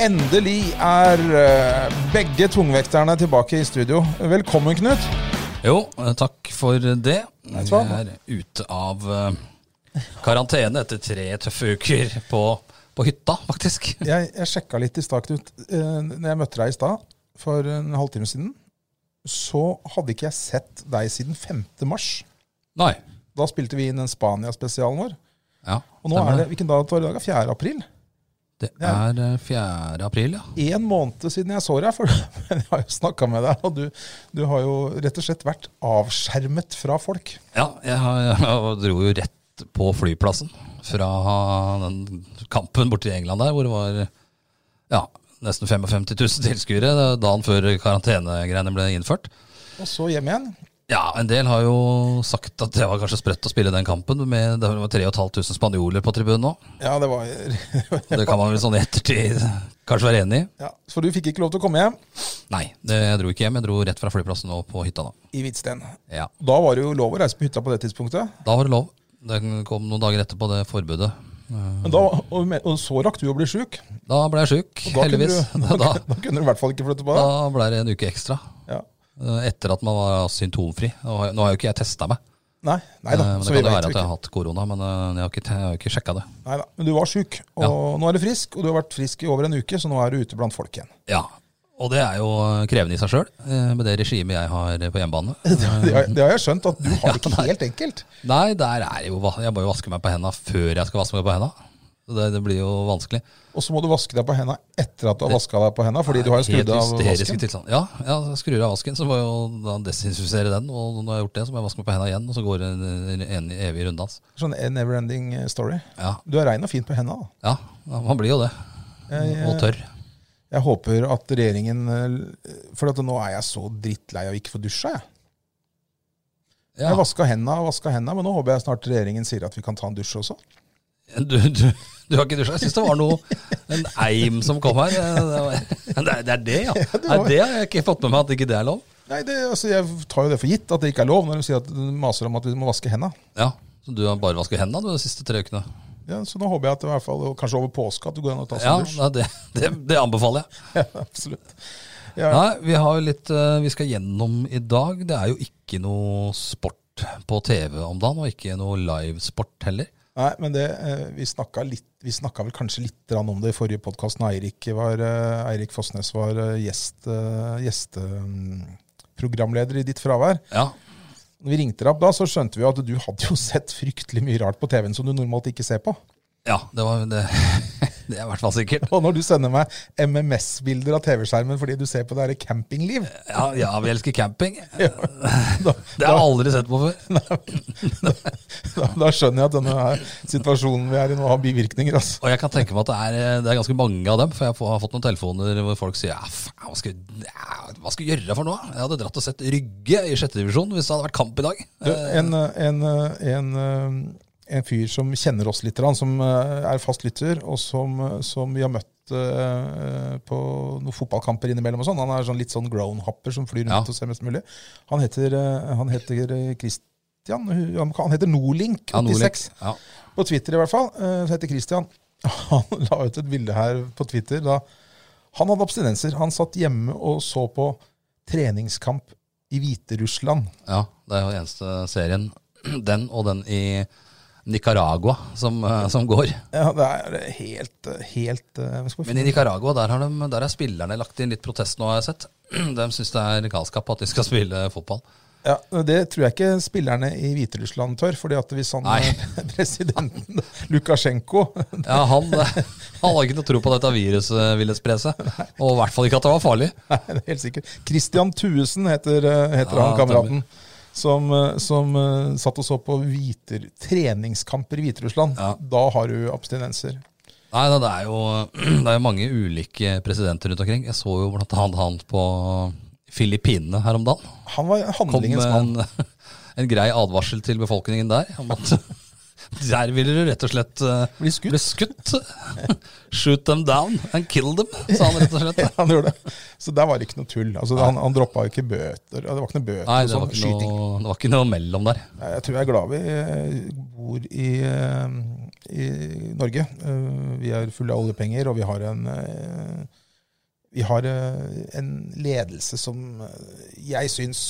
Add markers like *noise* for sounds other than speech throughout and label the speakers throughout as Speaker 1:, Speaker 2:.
Speaker 1: Endelig er eh, begge tungvekterne tilbake i studio. Velkommen, Knut.
Speaker 2: Jo, eh, takk for det. Vi
Speaker 1: hva.
Speaker 2: er ute av eh, karantene etter tre tøffe uker på, på hytta, faktisk.
Speaker 1: Jeg, jeg sjekka litt i stad, Knut. Eh, Når jeg møtte deg i stad, for en halvtime siden, så hadde ikke jeg sett deg siden 5. mars.
Speaker 2: Nei.
Speaker 1: Da spilte vi inn den Spania-spesialen vår.
Speaker 2: Ja,
Speaker 1: Og nå er det,
Speaker 2: stemmer
Speaker 1: Hvilken dag var det i dag? 4. april?
Speaker 2: det er eh, 4. april, ja.
Speaker 1: Én måned siden jeg så deg, for *laughs* men jeg har jo snakka med deg, og du, du har jo rett og slett vært avskjermet fra folk.
Speaker 2: Ja, jeg, har- jeg dro jo rett på flyplassen fra den kampen borte i England der, hvor det var ja, nesten 55 000 tilskuere eh, dagen før karantenegreiene ble innført.
Speaker 1: Og så hjem igjen.
Speaker 2: Ja, en del har jo sagt at det var kanskje sprøtt å spille den kampen. Med, det var 3500 spanjoler på tribunen nå.
Speaker 1: Ja, det var *laughs*
Speaker 2: Det kan man vel sånn i ettertid kanskje være enig i.
Speaker 1: ja, For du fikk ikke lov til å komme hjem
Speaker 2: Nei, det, jeg dro ikke hjem. Jeg dro rett fra flyplassen og på hytta da.
Speaker 1: i Hvitsten.
Speaker 2: Ja,
Speaker 1: Da var det jo lov å reise på hytta på det tidspunktet.
Speaker 2: Da var det lov. Det kom noen dager etterpå, det forbudet. Eh,
Speaker 1: Men da, og, me- og så rakk du å bli sjuk.
Speaker 2: Da ble jeg sjuk,
Speaker 1: Da kunne
Speaker 2: heldigvis.
Speaker 1: du-
Speaker 2: *laughs* Da, da,
Speaker 1: *laughs* Da kunne du i hvert fall ikke flytte på
Speaker 2: da
Speaker 1: deg.
Speaker 2: ble det en uke ekstra.
Speaker 1: Ja.
Speaker 2: eh, Etter at man var symptomfri. Nå har- nå har jo ikke jeg testa meg.
Speaker 1: Nei, nei da.
Speaker 2: Eh, Men
Speaker 1: Så
Speaker 2: det
Speaker 1: vi
Speaker 2: kan jo
Speaker 1: vet
Speaker 2: være
Speaker 1: jo
Speaker 2: at jeg
Speaker 1: ikke.
Speaker 2: har hatt korona, men eh, jeg har ikke, jeg har ikke sjekka det.
Speaker 1: Nei da. Men du var sjuk, og nå er du frisk. Og du har vært frisk i over en uke, så nå er du ute blant folk igjen.
Speaker 2: Ja, Og det er jo eh, krevende i seg sjøl, med det regimet jeg har på hjemmebane.
Speaker 1: *laughs* Det har, det har jeg skjønt, at du
Speaker 2: *laughs*
Speaker 1: har det ikke helt enkelt.
Speaker 2: Nei, der er jo va- Jeg må jo vaske meg på henda før jeg skal vaske meg på henda. Så Det, det blir jo vanskelig.
Speaker 1: Og så må du vaske deg på henda etter at du har vaska deg på henda, fordi du har jo skrudd
Speaker 2: Helt
Speaker 1: av
Speaker 2: hysterisk
Speaker 1: vasken.
Speaker 2: tilstand. Ja, ja, så skrur jeg av vasken, så må jeg jo da desinfisere den. Og når jeg har gjort det, så må jeg vaske meg på henda igjen, og så går det en, en, en evig runddans.
Speaker 1: Sånn never-ending story.
Speaker 2: Ja,
Speaker 1: Du er rein og fin på henda. da.
Speaker 2: ja, ja, man blir jo det.
Speaker 1: Jeg-
Speaker 2: Og tørr.
Speaker 1: Jeg håper at regjeringen eh, For at nå er jeg så drittlei av ikke få dusja, jeg.
Speaker 2: Ja.
Speaker 1: Jeg vaska henda og vaska henda, men nå håper jeg snart regjeringen sier at vi kan ta en dusj også.
Speaker 2: Du, du, du har ikke dusja? Jeg syns det var noe En eim som kom her. Det, var, *laughs* det, er, det er det,
Speaker 1: *laughs*
Speaker 2: ja. Nei, det har jeg ikke fått med meg at ikke det er lov.
Speaker 1: Nei, det, altså, Jeg tar jo det for gitt at det ikke er lov når de sier at de maser om at vi må vaske henda.
Speaker 2: Ja, Så du har bare vasket henda de siste tre ukene?
Speaker 1: Ja, så nå håper jeg at det i hvert fall, og kanskje over påske, at du går inn og tar
Speaker 2: Ja,
Speaker 1: en sånn dusj. *laughs*
Speaker 2: nei, det, det, det anbefaler jeg.
Speaker 1: Ja, absolutt.
Speaker 2: Nei, vi har jo litt eh, Vi skal gjennom i dag. Det er jo ikke noe sport på TV om dagen, og ikke noe livesport heller.
Speaker 1: Nei, men det, eh, vi snakka litt vi snakka vel kanskje litt grann om det i forrige podkast, når Eirik, var, eh, Eirik Fossnes var eh, gjest, eh, gjesteprogramleder i ditt fravær.
Speaker 2: Ja,
Speaker 1: Når vi ringte deg opp da, så skjønte vi jo at du hadde jo sett fryktelig mye rart på TV-en som du normalt ikke ser på.
Speaker 2: ja det, var, det, *laughs* det er i hvert fall sikkert.
Speaker 1: Og når du sender meg MMS-bilder av TV-skjermen fordi du ser på det her campingliv *laughs*
Speaker 2: Ja, ja, vi elsker camping. *laughs* Det
Speaker 1: da,
Speaker 2: har jeg aldri sett på før.
Speaker 1: da, da skjønner jeg at denne her situasjonen vi er i nå, har bivirkninger. Altså.
Speaker 2: Og jeg kan tenke meg at det er, eh, det er ganske mange av dem, for jeg får- har fått noen telefoner hvor folk sier ja, faen, hva, skal, ja, hva skal jeg gjøre for noe? Jeg hadde dratt og sett Rygge i sjette divisjon hvis det hadde vært kamp i dag.
Speaker 1: Du, En, en, en, en fyr som kjenner oss litt, grann, som eh, er fast lytter, og som, som vi har møtt eh, på noen fotballkamper innimellom og sånn. Han er sånn litt sånn groundhopper som flyr rundt
Speaker 2: Ja.
Speaker 1: og ser mest mulig. Han heter, eh, han heter eh, Christian Han heter Nordlink86.
Speaker 2: Ja, Nordlek. Ja.
Speaker 1: på Twitter i hvert fall, eh, så heter Christian. *laughs* Han la ut et bilde her på Twitter da han hadde abstinenser. Han satt hjemme og så på treningskamp i Hviterussland.
Speaker 2: Ja, det er jo den eneste serien. Den og den i Nicaragua som, eh, som går.
Speaker 1: Ja, det er helt, eh, helt eh, hva skal vi
Speaker 2: Men i Nicaragua der, har de, der er spillerne lagt inn litt protest nå, har jeg sett. De syns det er galskap at de skal spille fotball.
Speaker 1: ja, Det tror jeg ikke spillerne i Hviterussland tør. fordi at hvis han
Speaker 2: Nei.
Speaker 1: eh, *laughs* presidenten Lukasjenko *laughs*
Speaker 2: Ja, Han, *laughs* eh, han hadde ikke noe tro på at dette viruset ville spre seg. Og i hvert fall ikke at det var farlig.
Speaker 1: Nei, det er helt sikkert. Christian Thuesen heter, eh, heter
Speaker 2: Ja,
Speaker 1: han kameraten. Som, eh, som eh, satt og så på hviter, treningskamper i Hviterussland.
Speaker 2: Ja.
Speaker 1: Da har du abstinenser.
Speaker 2: Nei, da, det er jo *clears throat* det er jo mange ulike presidenter rundt omkring. Jeg så jo blant annet han på Filippinene her om dagen.
Speaker 1: Han var
Speaker 2: Kom eh, med
Speaker 1: handlingens mann. *laughs*
Speaker 2: en, *laughs* en grei advarsel til befolkningen der. Om at *laughs* der ville du rett og slett eh,
Speaker 1: Bli skutt.
Speaker 2: bli skutt. *laughs* Shoot them down and kill them, sa han rett og slett.
Speaker 1: Ja, han gjorde det. Så der var det ikke noe tull. Altså, han, han droppa ikke bøter. Det var ikke noe bøter
Speaker 2: Nei,
Speaker 1: og
Speaker 2: det
Speaker 1: sånn.
Speaker 2: var ikke
Speaker 1: Skyting.
Speaker 2: noe, det var ikke noe mellom der.
Speaker 1: Nei, Jeg tror jeg er glad vi eh, bor i, eh, i Norge. Eh, Vi er fulle av oljepenger, og vi har en eh, vi har eh, en ledelse som eh, jeg syns,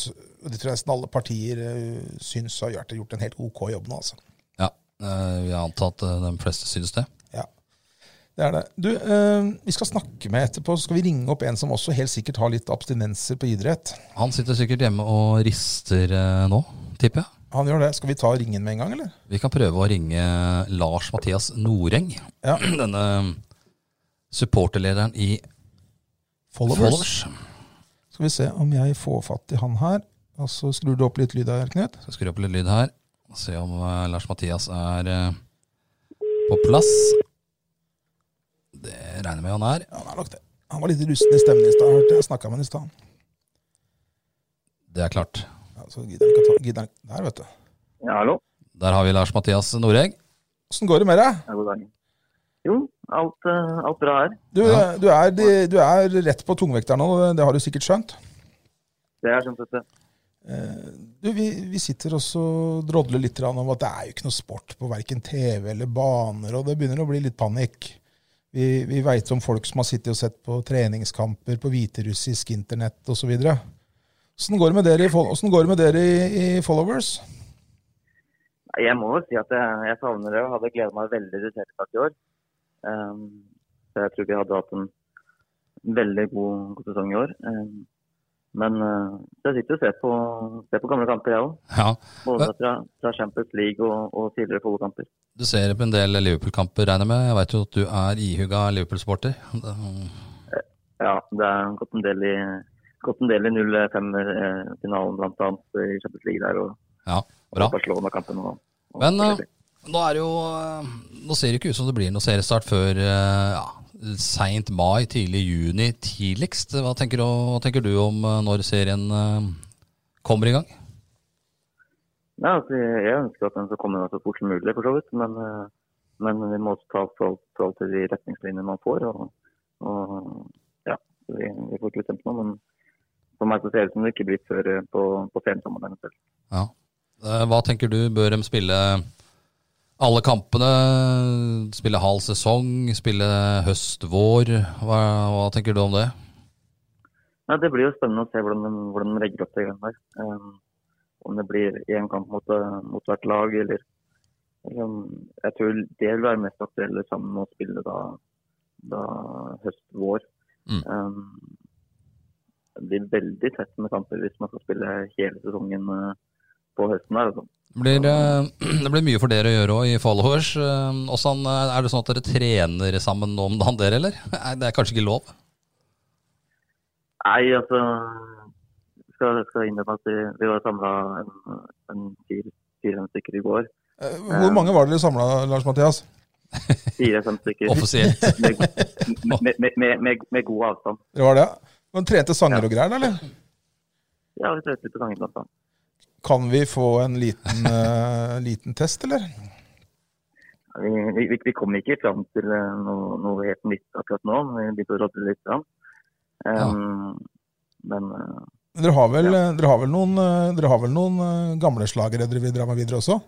Speaker 1: og det tror jeg nesten alle partier eh, syns, har gjort- gjort en helt ok jobb nå, altså.
Speaker 2: Ja, eh, Vi har antatt eh, de fleste syns det.
Speaker 1: Ja. Det er det. Du, eh, vi skal snakke med etterpå, så skal vi ringe opp en som også helt sikkert har litt abstinenser på idrett.
Speaker 2: Han sitter sikkert hjemme og rister eh, nå, tipper jeg.
Speaker 1: Han gjør det. Skal vi ta ringen med en gang, eller?
Speaker 2: Vi kan prøve å ringe eh, Lars Mathias Noreng.
Speaker 1: Ja.
Speaker 2: *clears throat* Denne eh, supporterlederen i Followers.
Speaker 1: Skal vi se om jeg får fatt i han her. Og så skrur du opp litt lyd her, Knut.
Speaker 2: Skal skru opp litt lyd her. og Se om eh, Lars Mathias er eh, på plass. Det regner jeg med han er.
Speaker 1: Ja, han er nok det. Han var litt rusten i stemmen i stad. hørte Jeg snakka med han i stad.
Speaker 2: Det er klart.
Speaker 1: Ja, så gidder han ikke å ta gidder han, Der, vet du.
Speaker 3: Ja, hallo.
Speaker 2: Der har vi Lars Mathias Noreng.
Speaker 1: Åssen går det med deg?
Speaker 3: Ja, god dag. Jo, alt, eh, alt bra her.
Speaker 1: Du,
Speaker 2: Ja.
Speaker 1: du, er, de- du er rett på tungvekter nå, det har du sikkert skjønt.
Speaker 3: Det er sånn sett det.
Speaker 1: Eh, Du, vi, vi sitter og så drodler litt grann om at det er jo ikke noe sport på verken TV eller baner, og det begynner å bli litt panikk. Vi, vi veit om folk som har sittet og sett på treningskamper på hviterussisk internett osv. Åssen går det med dere i, fol- hvordan går det med dere i, i followers?
Speaker 3: Nei, Jeg må jo si at jeg, jeg savner det og hadde gledet meg veldig til Telemark i år. Ehm, så jeg tror vi hadde hatt en veldig god, god sesong i år. Ehm, men eh, jeg sitter og ser på, ser på gamle kamper, jeg òg.
Speaker 2: Ja,
Speaker 3: Både fra, fra Champions League og, og tidligere Follo-kamper.
Speaker 2: Du ser på en del Liverpool-kamper, regner jeg med. Jeg veit jo at du er ihuga Liverpool-sporter. Det-
Speaker 3: Ja, det er gått en del i, gått en del i 0-5-finalen, blant annet i Champions League der. Og,
Speaker 2: Ja, bra.
Speaker 3: og Barcelona-kampen. Og, og
Speaker 2: Men eh, nå er det jo eh, Nå ser det ikke ut som det blir noe seriestart før eh, ja, seint mai, tidlig juni tidligst. Hva tenker du, hva tenker du om eh, når serien eh, kommer i gang?
Speaker 3: Nei, altså, jeg ønsker at den skal komme meg så fort som mulig, for så vidt. Men, eh, men vi må også ta forhold- forhold til de retningslinjene man får. Og, og ja, så vi, vi får ikke bestemt noe. Men for meg så ser det ut som det ikke blir før eh, på, på sensommeren eventuelt.
Speaker 2: Ja. Eh, Hva tenker du, bør de spille alle kampene? Spille halv sesong? Spille høst-vår? Hva, hva tenker du om det?
Speaker 3: Nei, det blir jo spennende å se hvordan de, hvordan de legger opp det greiene der. Eh, om det blir én kamp mot, eh, mot hvert lag, eller, eller om- Jeg tror det vil være mest aktuelle sammen med å spille da, da høst-vår.
Speaker 2: Mm.
Speaker 3: Eh, det blir veldig tett med kamper hvis man skal spille hele sesongen eh, på høsten. her. Altså.
Speaker 2: Det blir, eh, *clears throat* det blir mye for dere å gjøre òg i followers. Eh, Åssen, eh, er det sånn at dere trener sammen om dagen, dere, eller? *laughs* Nei, Det er kanskje ikke lov?
Speaker 3: Nei, altså skal, skal innrømme at vi, vi var samla en, en fire- fire-fem stykker i går.
Speaker 1: Eh, Hvor mange var dere samla, Lars Mathias?
Speaker 3: Fire-fem
Speaker 2: *laughs*
Speaker 3: stykker.
Speaker 2: Offisielt.
Speaker 3: med, med, med- med, med, med god avstand.
Speaker 1: Dere var det? Men Trente sanger og greier, da, eller?
Speaker 3: Ja, vi trøster på altså. sangen blant annet.
Speaker 1: Kan vi få en liten, eh, liten test, eller?
Speaker 3: Vi, vi, vi kom ikke fram til eh, noe, noe helt nytt akkurat nå, men vi begynte å rådde litt fram. Um, Men eh,
Speaker 1: Men Dere har vel, dere har vel noen, eh, dere har vel noen eh, gamle slagere dere vil dra med videre også?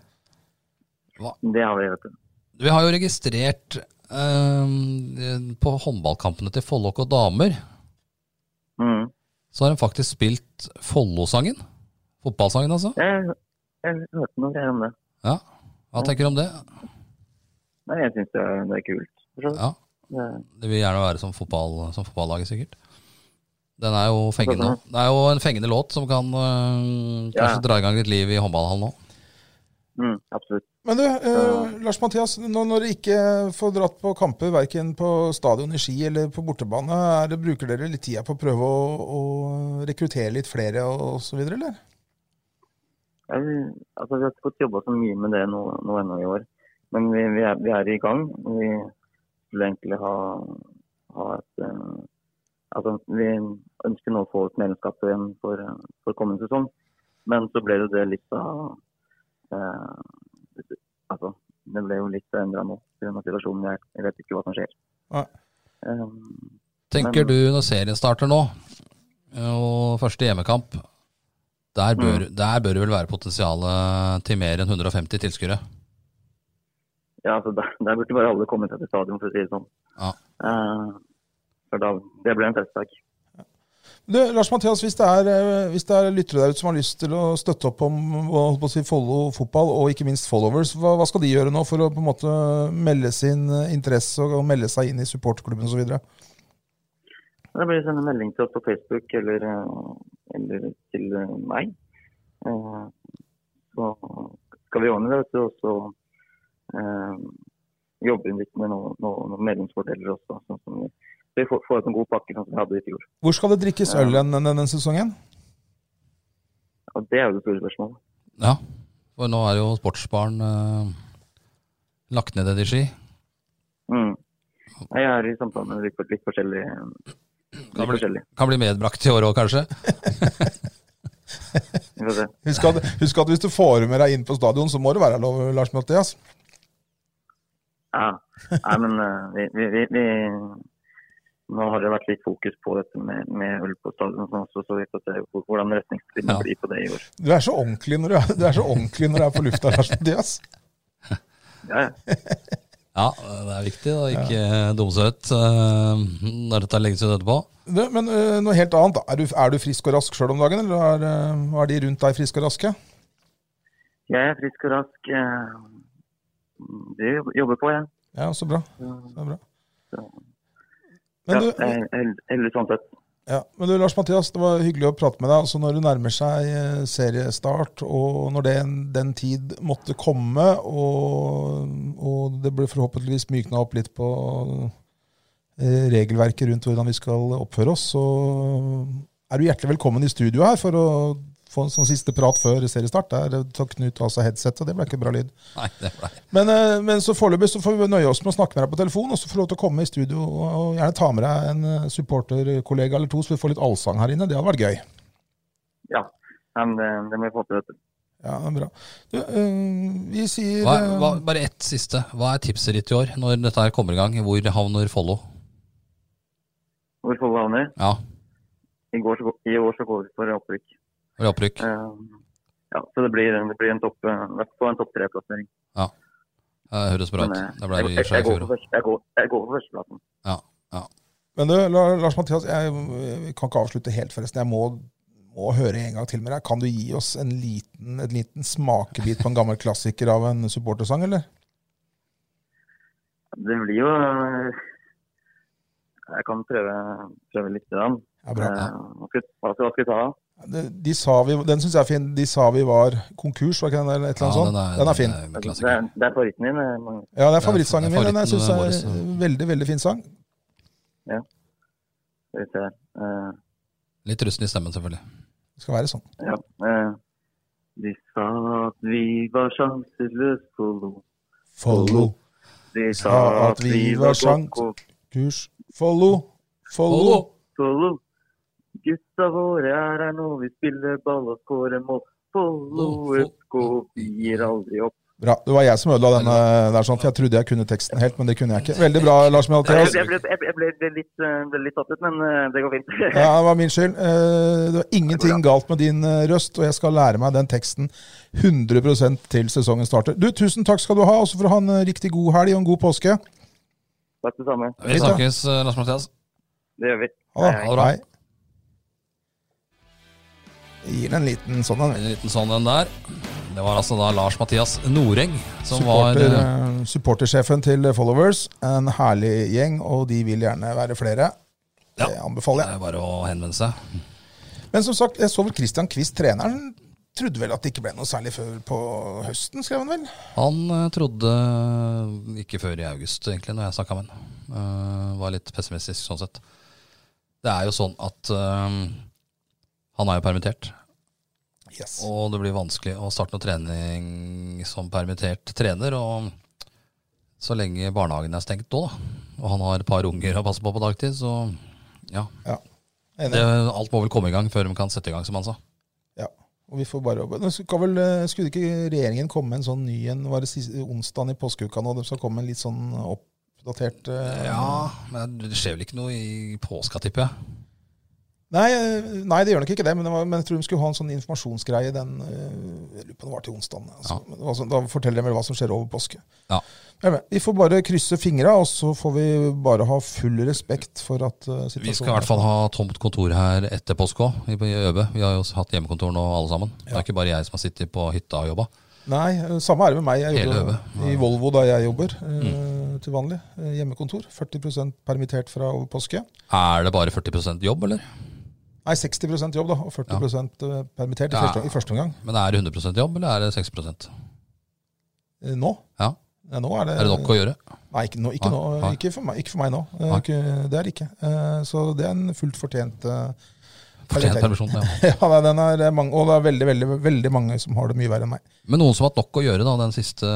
Speaker 3: det har vi, vet du.
Speaker 2: Vi har jo registrert eh, på håndballkampene til Follåk og damer,
Speaker 3: Mm.
Speaker 2: så har de faktisk spilt Follo-sangen. Fotballsangen, altså.
Speaker 3: Jeg, jeg hørte noe greier om det.
Speaker 2: Ja. Hva tenker du om det?
Speaker 3: Nei, jeg syns det, er- det er kult. for så vidt.
Speaker 2: Ja.
Speaker 3: Det-
Speaker 2: Det vil gjerne være som, fotball, som fotballaget, sikkert. Den er jo fengende. Det er jo en fengende låt som kan øh, kanskje
Speaker 3: Ja.
Speaker 2: dra i gang litt liv i håndballhallen nå.
Speaker 3: Mm, absolutt.
Speaker 1: Men du, eh, Lars Mathias, nå når dere ikke får dratt på kamper verken på stadion i Ski eller på bortebane, er det, bruker dere litt tida på å prøve å, å rekruttere litt flere og osv., eller?
Speaker 3: Jeg, altså, vi har ikke fått jobba så mye med det nå, nå ennå i år, men vi, vi, er, vi er i gang. Vi, skulle egentlig ha, ha et eh, Altså, vi ønsker nå å få ut medlemskapet igjen for, eh, for kommende sesong, men så ble jo det litt av eh, Altså, det ble jo litt endra nå pga. situasjonen. Jeg, jeg vet ikke hva som skjer.
Speaker 1: Nei.
Speaker 3: Eh,
Speaker 2: Tenker du når serien starter nå, eh, og første hjemmekamp, der bør, der bør det vel være potensialet til mer enn 150 tilskuere?
Speaker 3: Ja, altså der, der burde bare alle komme seg til stadion, for å si det sånn.
Speaker 2: Ja.
Speaker 3: Eh, for da, det ble en festdag.
Speaker 1: Du, Lars Mathias, hvis det, er, eh, hvis det er lyttere der ute som har lyst til å støtte opp om hva- holdt på å si, Follo fotball, og ikke minst followers, hva, hva skal de gjøre nå for å på en måte melde sin eh, interesse og, og melde seg inn i supportklubben osv.?
Speaker 3: Da blir det sendt en melding til oss på Facebook eller, eh, eller til eh, meg. Eh, så skal vi ordne det, vet du, og så eh, jobber vi litt med noen, noen medlemsfordeler også. Sånn som vi, vi får, får ut en god pakke, sånn som vi hadde i fjor.
Speaker 1: Hvor skal det drikkes øl den, den, denne sesongen?
Speaker 3: Og det er jo det store spørsmålet.
Speaker 2: Ja, for nå er jo sportsbaren eh, lagt ned i Ski.
Speaker 3: Mm. Jeg er i samtale med litt, litt forskjellig. Litt
Speaker 2: Gammel.
Speaker 3: forskjellig.
Speaker 2: Kan bli medbrakt i år òg, kanskje.
Speaker 3: Vi får se.
Speaker 1: Husk at, husk at hvis du får med deg inn på stadion, så må det være lov, Lars Mathias.
Speaker 3: Ja. Nei, men eh, vi, vi, vi, vi Nå har det vært litt fokus på dette med, med øl på stadion, og sånn også, så vi får se hvor- hvordan retningslinjene
Speaker 2: Ja.
Speaker 3: blir på det i år.
Speaker 1: Du er så ordentlig når du er, du er, så ordentlig når du er på lufta, Lars Mathias.
Speaker 3: Ja, ja.
Speaker 2: Ja, det er viktig å ikke eh, dumme seg ut eh, når dette legges ut etterpå.
Speaker 1: Du, men eh, noe helt annet. da. Er du, er du frisk og rask sjøl om dagen, eller er, eh, er de rundt deg friske og raske?
Speaker 3: Jeg er frisk og rask. eh, Det jobb- jobber på, jeg.
Speaker 1: Ja, så bra.
Speaker 3: Ja.
Speaker 1: Så bra.
Speaker 3: Så- Ja,
Speaker 1: Men du,
Speaker 3: jeg er held- heldig sånn sett.
Speaker 1: ja, men du, Lars Mathias, det var hyggelig å prate med deg. Altså Når det nærmer seg eh, seriestart, og når den, den tid måtte komme, og, og det ble forhåpentligvis mykna opp litt på eh, regelverket rundt hvordan vi skal oppføre oss, så er du hjertelig velkommen i studio her for å få en sånn siste prat før seriestart. Der tok Knut av seg headsetet, det ble ikke bra lyd.
Speaker 2: Nei, det ble
Speaker 1: Men, eh, men så foreløpig så får vi nøye oss med å snakke med deg på telefon, og så får du lov til å komme i studio og, og gjerne ta med deg en eh, supporterkollega eller to, så vi får litt allsang her inne. Det hadde vært gøy.
Speaker 3: Ja. Nei, Men det, det må vi få til. vet du.
Speaker 1: Ja, det er bra. Du, eh, vi sier
Speaker 2: hva,
Speaker 1: eh,
Speaker 2: hva, Bare ett siste. Hva er tipset ditt i år, når dette her kommer i gang? Hvor havner Follo?
Speaker 3: Hvor Follo havner?
Speaker 2: Ja,
Speaker 3: I, går så, gå- I år så går vi for opprykk.
Speaker 2: var det opprykk?
Speaker 3: Eh, Ja, så det blir, det blir en topp, eh, i hvert fall en topp tre-plassering.
Speaker 2: Det høres bra
Speaker 3: Men,
Speaker 2: ut.
Speaker 3: eh,
Speaker 2: Det ble
Speaker 3: jeg-
Speaker 2: det i
Speaker 3: jeg-
Speaker 2: og for
Speaker 3: jeg
Speaker 2: seg i
Speaker 3: går
Speaker 2: fjor.
Speaker 3: for første- jeg går- jeg går for førsteplassen.
Speaker 1: Men du, La- Lars Mathias, jeg eh, kan ikke avslutte helt, forresten. Jeg må, må høre en gang til med deg. Kan du gi oss en liten, en liten smakebit på en gammel klassiker av en supportersang, eller?
Speaker 3: Det blir jo eh, Jeg kan prøve, prøve litt. Grann.
Speaker 1: Ja, bra.
Speaker 3: Eh, Hva skal hva skal- hva skal vi ta?
Speaker 1: De, de sa vi, den syns jeg er fin. De sa vi var konkurs, var ikke den eller et eller annet sånt? den er fin.
Speaker 2: Den er
Speaker 3: Det
Speaker 2: klassiker.
Speaker 3: er, det er favoritten din. eh, Magnus.
Speaker 1: Ja, det er
Speaker 2: Det er
Speaker 1: favorittsangen min. Den jeg
Speaker 2: favoritten
Speaker 1: synes er
Speaker 2: vår,
Speaker 1: eh,
Speaker 2: så-
Speaker 1: veldig, veldig fin sang.
Speaker 3: Skal vi se her. Eh,
Speaker 2: Litt rusten i stemmen, selvfølgelig.
Speaker 1: Det skal være sånn.
Speaker 3: ja. eh, De sa at vi var sjanseløse på lo.
Speaker 1: Follo,
Speaker 3: De sa at vi var
Speaker 1: sjans-
Speaker 3: sjans...
Speaker 1: kurs. Follo, Follo.
Speaker 2: Follo!
Speaker 3: Follo. Gutta våre er her nå, vi spiller ball og scorer mål. Follo FK, vi gir aldri opp.
Speaker 1: Bra. Det var jeg som ødela den eh, der, sånn, for jeg trodde jeg kunne teksten helt, men det kunne jeg ikke. Veldig bra, Lars
Speaker 3: Jeg
Speaker 1: Mathias.
Speaker 3: jeg ble, jeg ble, jeg ble, litt, eh, ble litt tatt ut, men eh, det går fint.
Speaker 1: Ja, det var min skyld. Eh, Det var ingenting galt med din eh, røst, og jeg skal lære meg den teksten 100 til sesongen starter. Du, Tusen takk skal du ha, og så får du ha en eh, riktig god helg og en god påske.
Speaker 3: *laughs* Takk det samme.
Speaker 2: Vi snakkes, eh, Lars Mathias.
Speaker 3: Det gjør vi.
Speaker 1: Ha
Speaker 3: Hei,
Speaker 1: det.
Speaker 2: bra.
Speaker 1: Hei. Jeg Gir den en liten sånn en.
Speaker 2: En liten sånn en der. Det var altså da Lars Mathias Noreng som
Speaker 1: Supporter,
Speaker 2: var eh,
Speaker 1: eh, supportersjefen til Followers. En herlig gjeng, og de vil gjerne være flere.
Speaker 2: Ja.
Speaker 1: Det anbefaler jeg.
Speaker 2: Det er eh, bare å henvende seg.
Speaker 1: Men som sagt, jeg så vel Christian Quist, treneren, trodde vel at det ikke ble noe særlig før på høsten, skrev han vel?
Speaker 2: Han eh, trodde eh, ikke før i august, egentlig, når jeg snakka med han. Eh, var litt pessimistisk sånn sett. Det er jo sånn at eh, han er jo permittert,
Speaker 1: Yes.
Speaker 2: og det blir vanskelig å starte noe trening som permittert trener. Og så lenge barnehagen er stengt da, da, og han har et par unger å passe på på dagtid, så ja.
Speaker 1: Ja.
Speaker 2: Det,
Speaker 1: Enig.
Speaker 2: alt må vel komme i gang før de kan sette i gang, som han sa.
Speaker 1: Ja. Og vi får bare jobbe. Nå skal vel, eh, skulle ikke regjeringen komme med en sånn ny en var det siste, onsdagen i påskeuka nå? De skal komme med en litt sånn oppdatert eh,
Speaker 2: Ja, men det skjer vel ikke noe i påska, tipper jeg.
Speaker 1: Nei, eh, nei, det gjør nok ikke det, men, det var, men jeg tror de skulle ha en sånn informasjonsgreie den eh, Jeg lurer på om det var til onsdagen. Altså.
Speaker 2: Ja.
Speaker 1: Men det var sånn- Da forteller de vel hva som skjer over påske.
Speaker 2: Ja.
Speaker 1: Jeg er med. Vi får bare krysse fingra, og så får vi bare ha full respekt for at eh, situasjonen
Speaker 2: Vi skal i hvert fall ha tomt kontor her etter påske òg, i i Øbe. Vi har jo hatt hjemmekontor nå, alle sammen. Det er ikke bare jeg som har sittet på hytta og jobba.
Speaker 1: Nei, eh, samme er det med meg. Jeg
Speaker 2: Hele
Speaker 1: jobber
Speaker 2: øvet. Mm.
Speaker 1: i Volvo der jeg jobber eh, til vanlig. eh, Hjemmekontor. 40 permittert fra over påske.
Speaker 2: Er det bare 40 jobb, eller?
Speaker 1: Nei, 60 jobb da, og 40 eh, permittert i,
Speaker 2: Ja.
Speaker 1: første, i første omgang.
Speaker 2: Men er det 100 jobb, eller er det 6
Speaker 1: Eh, Nå.
Speaker 2: Ja,
Speaker 1: Ja, nå er det,
Speaker 2: Er det nok å gjøre?
Speaker 1: Nei, ikke, nå, ikke, nå, eh,
Speaker 2: Nei, nei.
Speaker 1: ikke, for, meg, ikke for meg nå. Eh,
Speaker 2: Nei.
Speaker 1: Ikke, det er det ikke. Eh, Så det er en fullt fortjent eh, *laughs*
Speaker 2: Fortjent
Speaker 1: permittering.
Speaker 2: permisjon,
Speaker 1: *laughs*
Speaker 2: ja.
Speaker 1: Ja, nei, den er mange, og det er veldig, veldig, veldig mange som har det mye verre enn meg.
Speaker 2: Men noen som har hatt nok å gjøre da, den siste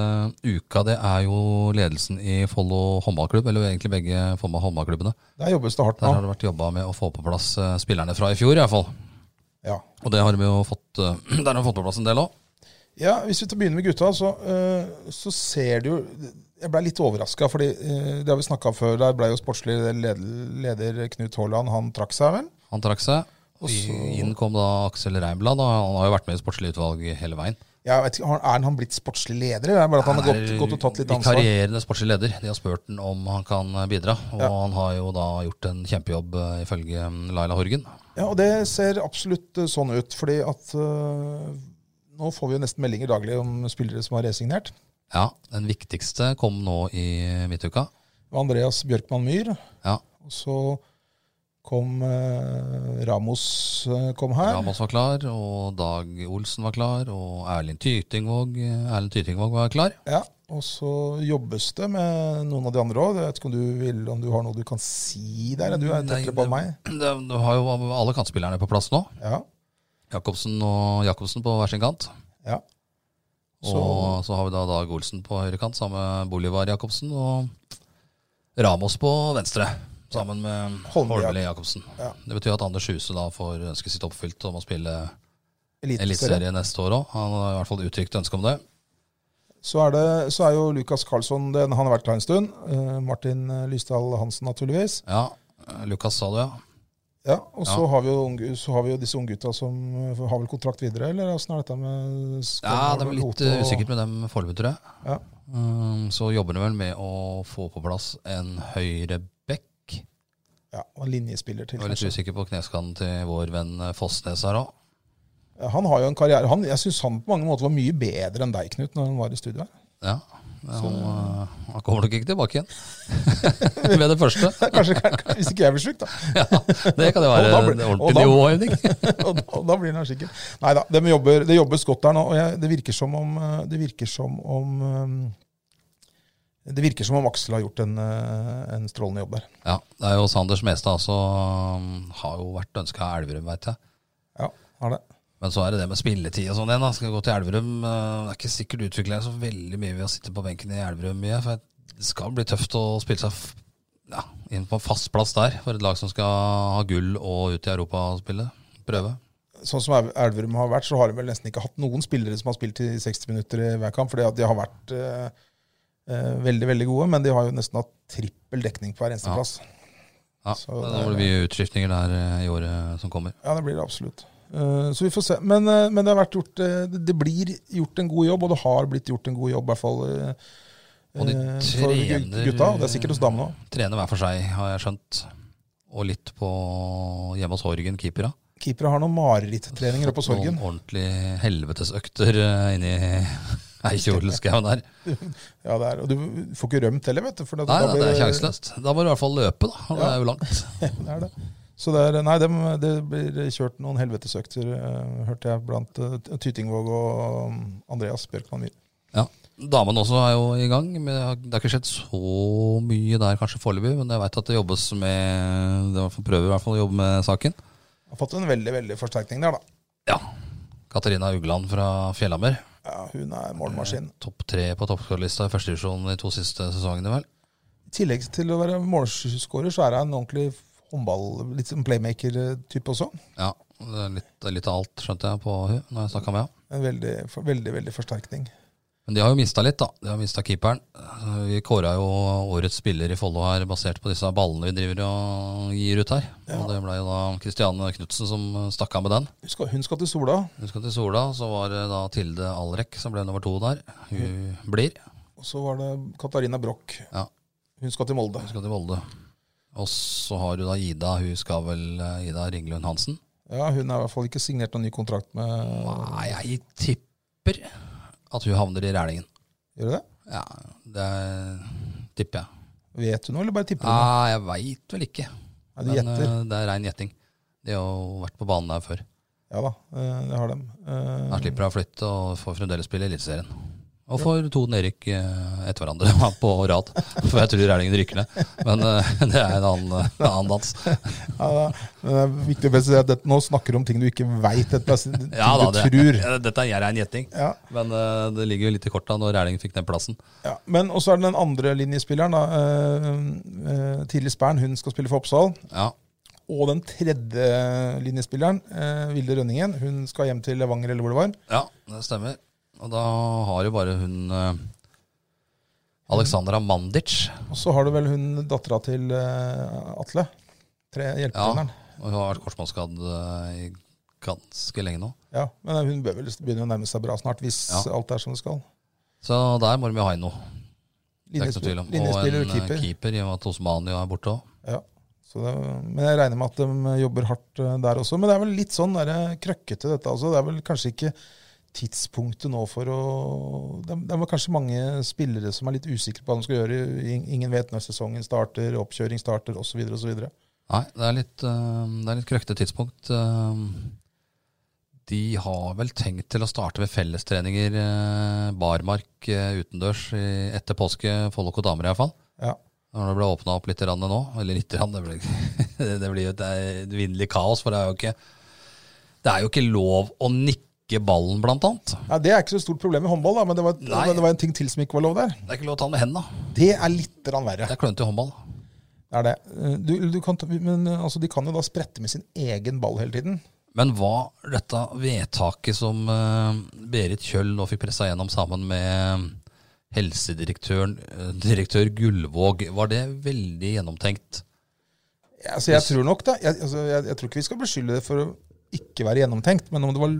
Speaker 2: uka, det er jo ledelsen i Follo håndballklubb. Eller egentlig begge Follo håndballklubbene.
Speaker 1: Der jobbes det hardt
Speaker 2: Der har
Speaker 1: nå.
Speaker 2: det vært jobba med å få på plass eh, spillerne fra i fjor, i hvert fall.
Speaker 1: Ja.
Speaker 2: Og det har de jo fått, eh, *clears throat* der har de fått på plass en del òg.
Speaker 1: Ja, Hvis vi tar begynner med gutta, så, eh, så ser du jo Jeg blei litt overraska, for det har vi snakka om før. Der blei jo sportslig leder, leder Knut Haaland, han trakk seg vel?
Speaker 2: Han trakk seg.
Speaker 1: Og så-
Speaker 2: Inn kom da Aksel Reimblad. da. Han har jo vært med i sportslig utvalg hele veien.
Speaker 1: Jeg vet ikke, har- Er han blitt sportslig leder, eller er det bare at han har gått, gått og tatt litt ansvar?
Speaker 2: Vikarierende sportslig leder. De har spurt han om han kan bidra, og
Speaker 1: Ja.
Speaker 2: han har jo da gjort en kjempejobb eh, ifølge eh, Laila Horgen.
Speaker 1: Ja, og det ser absolutt eh, sånn ut, fordi at eh, nå får vi jo nesten meldinger daglig om spillere som har resignert.
Speaker 2: Ja, den viktigste kom nå i midtuka.
Speaker 1: Andreas Bjørkman Myhr.
Speaker 2: Ja,
Speaker 1: Og så kom eh, Ramos eh, kom her.
Speaker 2: Ramos var klar, og Dag Olsen var klar, og Erlend Tytingvåg, eh, Erlend Tytingvåg var klar.
Speaker 1: Ja, og så jobbes det med noen av de andre òg. Jeg vet ikke om du, vil, om du har noe du kan si der? Du er
Speaker 2: Nei,
Speaker 1: tettere på enn meg.
Speaker 2: det- Du har jo alle kantspillerne på plass nå.
Speaker 1: Ja,
Speaker 2: Jacobsen og Jacobsen på hver sin kant.
Speaker 1: ja. Så,
Speaker 2: Og så har vi da Dag Olsen på høyre kant sammen med Bolivar Jacobsen. Og Ramos på venstre sammen med
Speaker 1: Holmlia.
Speaker 2: Holmli Jacobsen.
Speaker 1: Ja.
Speaker 2: Det betyr at Anders Huse da får ønsket sitt oppfylt om å spille
Speaker 1: eliteserie.
Speaker 2: Eliteserien neste år òg. Han har i hvert fall uttrykt ønske om det.
Speaker 1: Så er, det, så er jo Lukas Karlsson den, Han har vært her en stund. Eh, Martin eh, Lysdal Hansen, naturligvis.
Speaker 2: Ja, Lukas sa det, ja.
Speaker 1: Ja, Og så,
Speaker 2: Ja.
Speaker 1: Har vi jo unge, så har vi jo disse unggutta som eh, har vel kontrakt videre, eller åssen er dette med Skål,
Speaker 2: Ja, Det er vel litt
Speaker 1: Hoto og-
Speaker 2: eh, usikkert med dem foreløpig, tror jeg.
Speaker 1: Ja.
Speaker 2: Um, Så jobber de vel med å få på plass en høyre bekk.
Speaker 1: Ja, og en linjespiller til.
Speaker 2: Jeg var litt
Speaker 1: kanskje.
Speaker 2: usikker på kneskaden til vår venn eh, Fossnes her òg.
Speaker 1: Ja, Han har jo en karriere han, Jeg syns han på mange måter var mye bedre enn deg, Knut, når han var i studio her.
Speaker 2: Ja. Han, eh, han kommer nok ikke tilbake igjen *laughs* med det første.
Speaker 1: *laughs* Kanskje, Hvis ikke jeg blir sjuk, da.
Speaker 2: Ja, det kan jo
Speaker 1: Og
Speaker 2: være
Speaker 1: da blir-
Speaker 2: en
Speaker 1: og da-
Speaker 2: ordentlig
Speaker 1: *laughs*
Speaker 2: nivåheving.
Speaker 1: Og da, og da blir han sikker. Nei da, det jobber, det jobbes godt der nå. Og jeg, det virker som om eh, Det virker som om eh, Det virker som om Aksel har gjort en, eh, en strålende jobb der.
Speaker 2: Ja, det er jo Sander Smestad også. um, Har jo vært ønska av Elverum, veit jeg.
Speaker 1: Ja, har det.
Speaker 2: Men så er det det med spilletid og sånn igjen. da. Skal gå til Elverum. uh, Det er ikke sikkert du utvikler deg så veldig mye ved å sitte på benken i Elverum mye. For det skal bli tøft å spille seg f- ja, inn på en fast plass der for et lag som skal ha gull og ut i Europa og spille. Prøve.
Speaker 1: Sånn som Elv- Elverum har vært, så har de vel nesten ikke hatt noen spillere som har spilt i 60 minutter i hver kamp, fordi at de har vært eh, eh, veldig, veldig gode. Men de har jo nesten hatt trippel dekning på hver eneste
Speaker 2: Ja.
Speaker 1: plass.
Speaker 2: Ja,
Speaker 1: Så
Speaker 2: Da blir det mye utskiftninger der eh, i året som kommer.
Speaker 1: Ja, det blir det absolutt. Eh, Så vi får se. Men, eh, men det, har vært gjort, eh, det- det blir gjort en god jobb, og det har blitt gjort en god jobb, i hvert fall eh,
Speaker 2: Og de
Speaker 1: eh, for gu-
Speaker 2: trener
Speaker 1: gutta. Og det er sikkert hos damene òg.
Speaker 2: Trener hver for seg, har jeg skjønt. Og litt på hjemme hos Horgen, keepera.
Speaker 1: Keepere har noen marerittreninger oppe på Sorgen.
Speaker 2: Noen ordentlige helvetesøkter eh, inni *laughs* Eikjolskauen der.
Speaker 1: Ja, det er, og du får ikke rømt heller, vet du. For da-
Speaker 2: Nei,
Speaker 1: da
Speaker 2: nei,
Speaker 1: blir
Speaker 2: det er
Speaker 1: det-
Speaker 2: sjanseløst. Da må du i hvert fall løpe, da. Det er jo langt.
Speaker 1: Det er det. Så det, er, nei, dem- det blir kjørt noen helvetesøkter, eh, hørte jeg, blant eh, Tytingvåg og um, Andreas Bjørkman Myhr.
Speaker 2: Ja. Damene også er jo i gang. Men det har- det har ikke skjedd så mye der kanskje foreløpig. Men jeg veit at det jobbes med det er i hvert fall- Prøver i hvert fall å jobbe med saken.
Speaker 1: Har fått en veldig veldig forsterkning der, da.
Speaker 2: Ja. Katarina Ugland fra Fjellhammer.
Speaker 1: Ja, hun er målmaskin.
Speaker 2: Topp tre på toppskårerlista i første divisjon de to siste sesongene, vel.
Speaker 1: I tillegg til å være målskårer, så er hun en ordentlig håndball, litt sånn playmaker-type også.
Speaker 2: Ja, det er litt, det er litt av alt, skjønte jeg, på hun når jeg snakka med henne.
Speaker 1: En veldig, for, veldig, veldig forsterkning.
Speaker 2: Men de har jo mista litt, da. De har mista keeperen. Eh, Vi kåra jo årets spiller i Follo her basert på disse ballene vi driver og gir ut her. Og det ble jo da Kristiane Knutsen som eh, stakk av med den.
Speaker 1: Hun skal, hun skal til Sola,
Speaker 2: Hun skal til Sola, så var det da Tilde Alrek som ble nummer to der. Hun blir.
Speaker 1: og så var det Katarina Broch.
Speaker 2: Ja.
Speaker 1: Hun skal til Molde.
Speaker 2: Hun skal til Volde. Og så har du da Ida. Hun skal vel eh, Ida Ringlund Hansen.
Speaker 1: Ja, Hun er i hvert fall ikke signert noen ny kontrakt med
Speaker 2: Nei, jeg tipper at hun havner i Rælingen.
Speaker 1: Gjør du det?
Speaker 2: Ja, det tipper jeg.
Speaker 1: Vet du noe, eller bare tipper du noe?
Speaker 2: Nei, jeg veit vel ikke.
Speaker 1: Nei, du
Speaker 2: Men
Speaker 1: gjetter.
Speaker 2: eh, det er rein gjetting. De har jo vært på banen der før.
Speaker 1: Ja da, eh, det har dem. Eh,
Speaker 2: Da slipper hun å flytte og får fremdeles spille i Eliteserien. Og får to nedrykk eh, etter hverandre *laughs* på rad. For jeg tror Rælingen ryker ned. Men eh, *laughs* det er en annen, en annen dans.
Speaker 1: *laughs* Ja, da. Men det er viktig å presisere at dette, nå snakker du om ting du ikke veit, ting
Speaker 2: *laughs* Ja, da,
Speaker 1: du
Speaker 2: det,
Speaker 1: tror.
Speaker 2: *laughs* ja, dette er rein gjetting.
Speaker 1: Ja.
Speaker 2: Men eh, det ligger jo litt i korta når Erling fikk den plassen.
Speaker 1: Ja. Men også er det den andre linjespilleren, da. eh, eh, Tidlig Spern, hun skal spille for Oppsal.
Speaker 2: Ja,
Speaker 1: Og den tredje linjespilleren, eh, Vilde Rønningen, hun skal hjem til Levanger eller hvor det var.
Speaker 2: ja det stemmer. Og da har jo bare hun eh, Alexandra Mandic.
Speaker 1: Og så har du vel hun dattera til eh, Atle. Tre
Speaker 2: Ja,
Speaker 1: hjelpetreneren.
Speaker 2: og hun har vært korsbåndskadd eh, i ganske lenge nå.
Speaker 1: Ja. Men hun bør vel begynne å nærme seg bra snart, hvis
Speaker 2: Ja.
Speaker 1: alt er som det skal.
Speaker 2: Så der må de jo ha inn noe. Det er ikke noe
Speaker 1: Linjesp-
Speaker 2: tvil om. Og en
Speaker 1: Linjespiller og
Speaker 2: eh,
Speaker 1: keeper.
Speaker 2: keeper, i og med at Osmani er borte òg.
Speaker 1: Ja. Så det, men jeg regner med at de jobber hardt eh, der også. Men det er vel litt sånn der, krøkkete, dette også. Det er vel kanskje ikke tidspunktet nå for å Det er, det er vel kanskje mange spillere som er litt usikre på hva de skal gjøre. In- Ingen vet når sesongen starter, oppkjøring starter osv. osv.
Speaker 2: Nei, det er litt, uh, litt krøkte tidspunkt. eh. de har vel tenkt til å starte med fellestreninger eh, barmark eh, utendørs i, etter påske, Follo og damer iallfall.
Speaker 1: Ja.
Speaker 2: Når det ble åpna opp litt rann nå, eller litt rann, det, blir- *laughs* det blir jo et evinnelig kaos. For det er, jo ikke, det er jo ikke lov å nikke ballen, blant annet.
Speaker 1: Nei, det er ikke så stort problem i håndball, da, men det var,
Speaker 2: Nei.
Speaker 1: men det var en ting til som ikke var lov der.
Speaker 2: Det er ikke lov å ta den med hendene.
Speaker 1: Det er litt rann verre.
Speaker 2: Det er klønete i håndball.
Speaker 1: Det er det. Eh, Du, du kan, ta- men eh, altså, de kan jo da sprette med sin egen ball hele tiden.
Speaker 2: Men var dette vedtaket som eh, Berit Kjøll nå fikk pressa gjennom sammen med eh, helsedirektøren, eh, direktør Gullvåg, var det veldig gjennomtenkt?
Speaker 1: Ja, Altså, jeg tror nok det. Jeg, altså, jeg, jeg tror ikke vi skal beskylde det for å ikke være gjennomtenkt, men om det var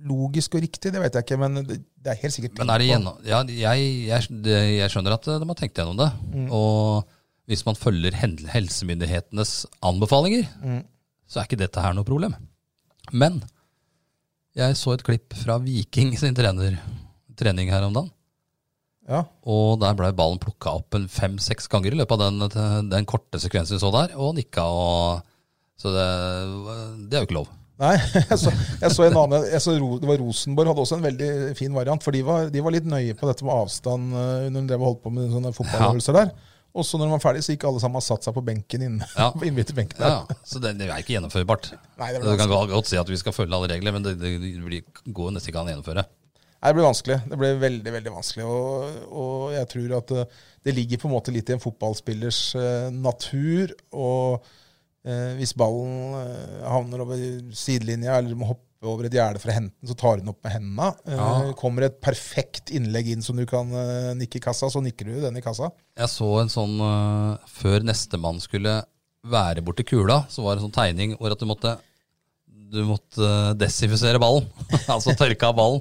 Speaker 1: logisk og riktig, det vet jeg ikke, men det, det er helt sikkert
Speaker 2: Men er
Speaker 1: tenkt
Speaker 2: det
Speaker 1: på.
Speaker 2: gjennom, ja, jeg, jeg, det, jeg skjønner at eh, de har tenkt gjennom det.
Speaker 1: Mm.
Speaker 2: Og hvis man følger hen- helsemyndighetenes anbefalinger,
Speaker 1: Mm.
Speaker 2: så er ikke dette her noe problem. Men jeg så et klipp fra Viking sin trener, trening her om dagen.
Speaker 1: Ja,
Speaker 2: Og der ble ballen plukka opp en fem-seks ganger i løpet av den, den korte sekvensen vi så der, og nikka og Så det, det er jo ikke lov.
Speaker 1: Nei, *laughs* jeg så, jeg så en annen jeg så, Ro- Det var Rosenborg hadde også en veldig fin variant. For de var, de var litt nøye på dette med avstand eh, når de drev og holdt på med sånne fotballøvelser der. Og så når de var ferdig, så gikk alle sammen og satte seg på benken inne. *laughs*
Speaker 2: Ja.
Speaker 1: på innbytterbenken der.
Speaker 2: Ja, så det, det er ikke gjennomførbart.
Speaker 1: Nei, det
Speaker 2: Du
Speaker 1: blir
Speaker 2: kan
Speaker 1: vanskelig.
Speaker 2: godt godt si at vi skal følge alle regler, men det, det blir, går jo nesten ikke an å gjennomføre.
Speaker 1: Nei, det blir vanskelig. Det blir veldig, veldig vanskelig. Og, og jeg tror at eh, det ligger på en måte litt i en fotballspillers eh, natur. Og eh, hvis ballen eh, havner over sidelinja, eller du må hoppe over et gjerde for å hente den, så tar du den opp med hendene. Eh,
Speaker 2: Ja.
Speaker 1: Kommer et perfekt innlegg inn som du kan eh, nikke i kassa, så nikker du den i kassa. *laughs*
Speaker 2: Jeg så en sånn øh, Før nestemann skulle være borti kula, så var det en sånn tegning hvor at du måtte du måtte øh, desinfisere ballen. *laughs* altså tørke av ballen.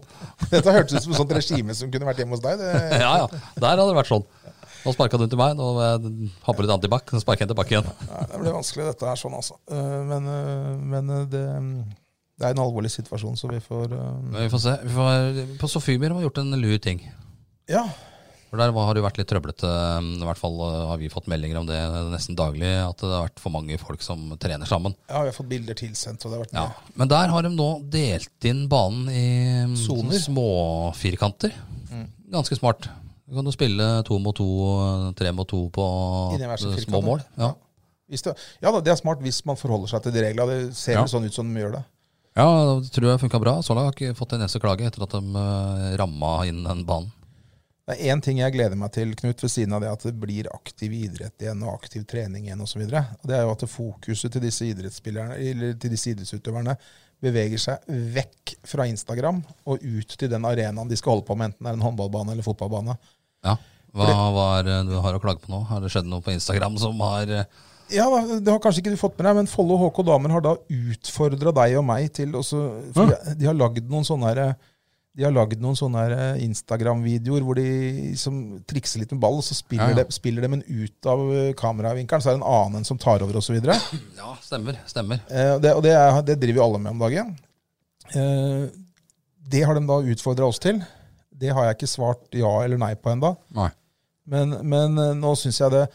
Speaker 1: Dette hørtes ut som et sånt regime som kunne vært hjemme hos deg. Det,
Speaker 2: *laughs* Ja, ja. Der hadde det vært sånn. Nå sparka du til meg, nå må jeg ha på litt antibac, så sparker jeg tilbake igjen.
Speaker 1: Nei, det blir vanskelig, dette her, sånn altså. Eh, Men, eh, men eh, det, det er en alvorlig situasjon, så vi får eh,
Speaker 2: Men vi får se. Vi får, på Sofiemyr har man gjort en lur ting.
Speaker 1: Ja.
Speaker 2: For Der var- har det jo vært litt trøblete. I hvert fall eh, har vi fått meldinger om det nesten daglig, at det har vært for mange folk som trener sammen.
Speaker 1: Ja, vi har fått bilder tilsendt, og det har vært
Speaker 2: Ja,
Speaker 1: mye.
Speaker 2: Men der har de nå delt inn banen i mm,
Speaker 1: Soner.
Speaker 2: sånne småfirkanter. Ganske smart. Du kan jo spille to mot to, uh, tre mot to på
Speaker 1: Inni hver sin
Speaker 2: små
Speaker 1: firkant,
Speaker 2: mål. Ja.
Speaker 1: Hvis det, ja da, det er smart hvis man forholder seg til de reglene. Det ser
Speaker 2: Ja.
Speaker 1: vel sånn ut som de gjør det.
Speaker 2: ja, det tror jeg funka bra. Så langt har jeg ikke fått en eneste klage etter at de eh, ramma inn den banen.
Speaker 1: Det er én ting jeg gleder meg til, Knut, ved siden av det at det blir aktiv idrett igjen og aktiv trening igjen osv. Det er jo at det fokuset til disse idrettsspillerne, eller til disse idrettsutøverne beveger seg vekk fra Instagram og ut til den arenaen de skal holde på med, enten det er en håndballbane eller fotballbane.
Speaker 2: Ja. Hva var det du har å klage på nå? Har det skjedd noe på Instagram som har eh,
Speaker 1: Ja, da, Det har kanskje ikke du fått med deg, men Follo HK Damer har da utfordra deg og meg til også, for de, de har lagd noen sånne her, de har lagd noen sånne her, eh, Instagram-videoer hvor de som trikser litt med ball, og så spiller,
Speaker 2: Ja, ja.
Speaker 1: De, spiller de en ut av eh, kameravinkelen, så er det en annen en som tar over osv. Eh,
Speaker 2: Ja, stemmer. Stemmer.
Speaker 1: og det, og det, er, det driver jo alle med om dagen. Eh, det har de da utfordra oss til. Det har jeg ikke svart ja eller nei på enda.
Speaker 2: Nei.
Speaker 1: Men, men eh, nå syns jeg det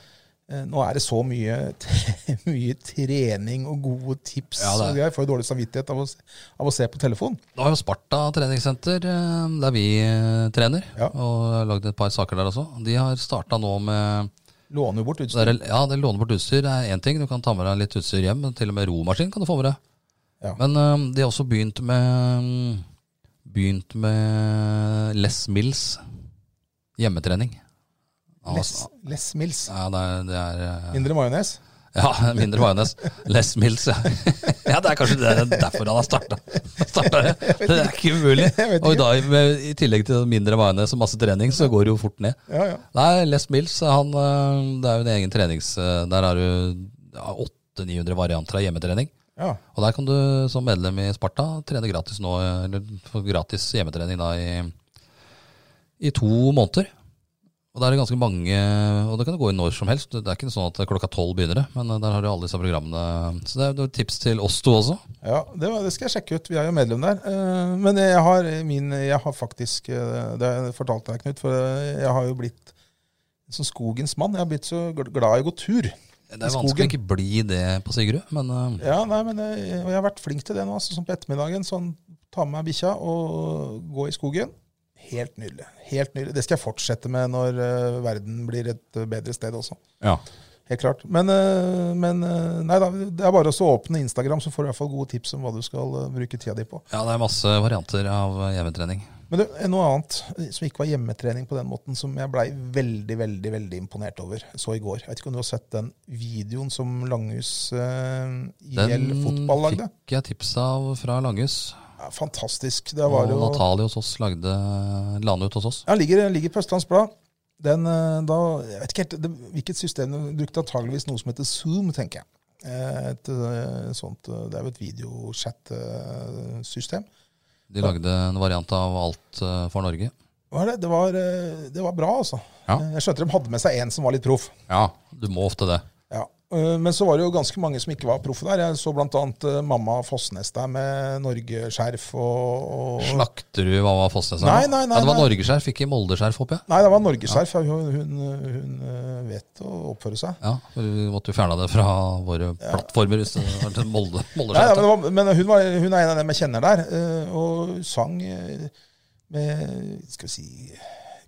Speaker 1: eh, Nå er det så mye, *laughs* mye trening og gode tips.
Speaker 2: Ja, det er.
Speaker 1: og jeg får jo dårlig samvittighet av å, se- av å se på telefon.
Speaker 2: Nå har jo Sparta treningssenter, eh, der vi eh, trener,
Speaker 1: Ja.
Speaker 2: og jeg har lagd et par saker der også. De har starta nå med
Speaker 1: Låner jo bort
Speaker 2: Så
Speaker 1: utstyr.
Speaker 2: er det, ja, det låne bort utstyr er én ting. Du kan ta med deg litt utstyr hjem. men Til og med romaskin kan du få med deg.
Speaker 1: Ja.
Speaker 2: Men øhm, de har også begynt med øhm, Begynt med Les Mills hjemmetrening. Ja,
Speaker 1: Less,
Speaker 2: altså,
Speaker 1: less Mills.
Speaker 2: Ja, det er, det er øh,
Speaker 1: Indre majones.
Speaker 2: Ja, *laughs* mindre majones. Les Mills, ja. *laughs* ja. Det er kanskje det er derfor han har starta. det. Det er ikke umulig.
Speaker 1: Jeg vet ikke.
Speaker 2: Og i, dag, med, i tillegg til mindre majones og masse trening, så går det jo fort ned.
Speaker 1: Ja, ja.
Speaker 2: Nei, Les Mills han, øh, det er jo en egen trenings... øh, Der har du ja, 800-900 varianter av hjemmetrening.
Speaker 1: ja.
Speaker 2: Og der kan du som medlem i Sparta trene gratis nå, eller få gratis hjemmetrening da i, i to måneder. Og der er det ganske mange, og det kan du gå inn når som helst. Det er ikke sånn at klokka tolv begynner det, men eh, der har du alle disse programmene. Så det er jo et tips til oss to også.
Speaker 1: ja det, var, det skal jeg sjekke ut. Vi er jo medlem der. Eh, Men jeg har, min, jeg har faktisk eh, Det har jeg fortalt deg, Knut, for eh, jeg har jo blitt som skogens mann. Jeg har blitt så gl- glad i å gå tur.
Speaker 2: Det
Speaker 1: I
Speaker 2: er
Speaker 1: skogen.
Speaker 2: vanskelig å ikke bli det på Sigrud, men eh,
Speaker 1: Ja, nei, men jeg, og jeg har vært flink til det nå. Altså, sånn på ettermiddagen, sånn, ta med meg bikkja og gå i skogen. Helt nydelig. Helt nydelig. Det skal jeg fortsette med når eh, verden blir et eh, bedre sted også.
Speaker 2: ja.
Speaker 1: Helt klart. Men, eh, men eh, nei da, det er bare å så åpne Instagram, så får du i hvert fall gode tips om hva du skal eh, bruke tida di på.
Speaker 2: det er masse varianter av hjemmetrening.
Speaker 1: Men du, noe annet eh, som ikke var hjemmetrening på den måten, som jeg blei veldig, veldig veldig imponert over. Så i går. Jeg vet ikke om du har sett den videoen som Langhus eh, IL Fotball lagde?
Speaker 2: fikk jeg tips av fra Langhus.
Speaker 1: Ja, fantastisk. Det var jo
Speaker 2: Og Natalie hos oss lagde la den ut hos oss.
Speaker 1: Ja, ligger, ligger på Østlands Blad. Den, eh, da, jeg vet ikke helt det, hvilket system de brukte, antageligvis noe som heter Zoom, tenker jeg. Eh, Et eh, sånt, eh, Det er jo et videochat-system.
Speaker 2: De lagde en variant av Alt eh, for Norge.
Speaker 1: Hva er det? Det var, eh, det var bra, altså.
Speaker 2: Ja.
Speaker 1: Eh, Jeg skjønte de hadde med seg en som var litt proff.
Speaker 2: Ja. Du må ofte det.
Speaker 1: Ja. Eh, Men så var det jo ganske mange som ikke var proffe der. Jeg så bl.a. mamma Fossnes der med norgeskjerf og, og
Speaker 2: Slakter du hva var Fossnes sa?
Speaker 1: Nei, nei, nei,
Speaker 2: ja, det var
Speaker 1: nei.
Speaker 2: norgeskjerf, ikke moldeskjerf, håper jeg.
Speaker 1: Nei, det var norgeskjerf. Hun, hun, hun eh, vet å oppføre seg.
Speaker 2: Ja, Vi måtte jo fjerne det fra våre plattformer. Hvis det var til
Speaker 1: *laughs*
Speaker 2: molde,
Speaker 1: Nei,
Speaker 2: moldeskjerf.
Speaker 1: nei, men, det var, men hun, var, hun er en av dem jeg kjenner der, eh, og sang eh, med Skal vi si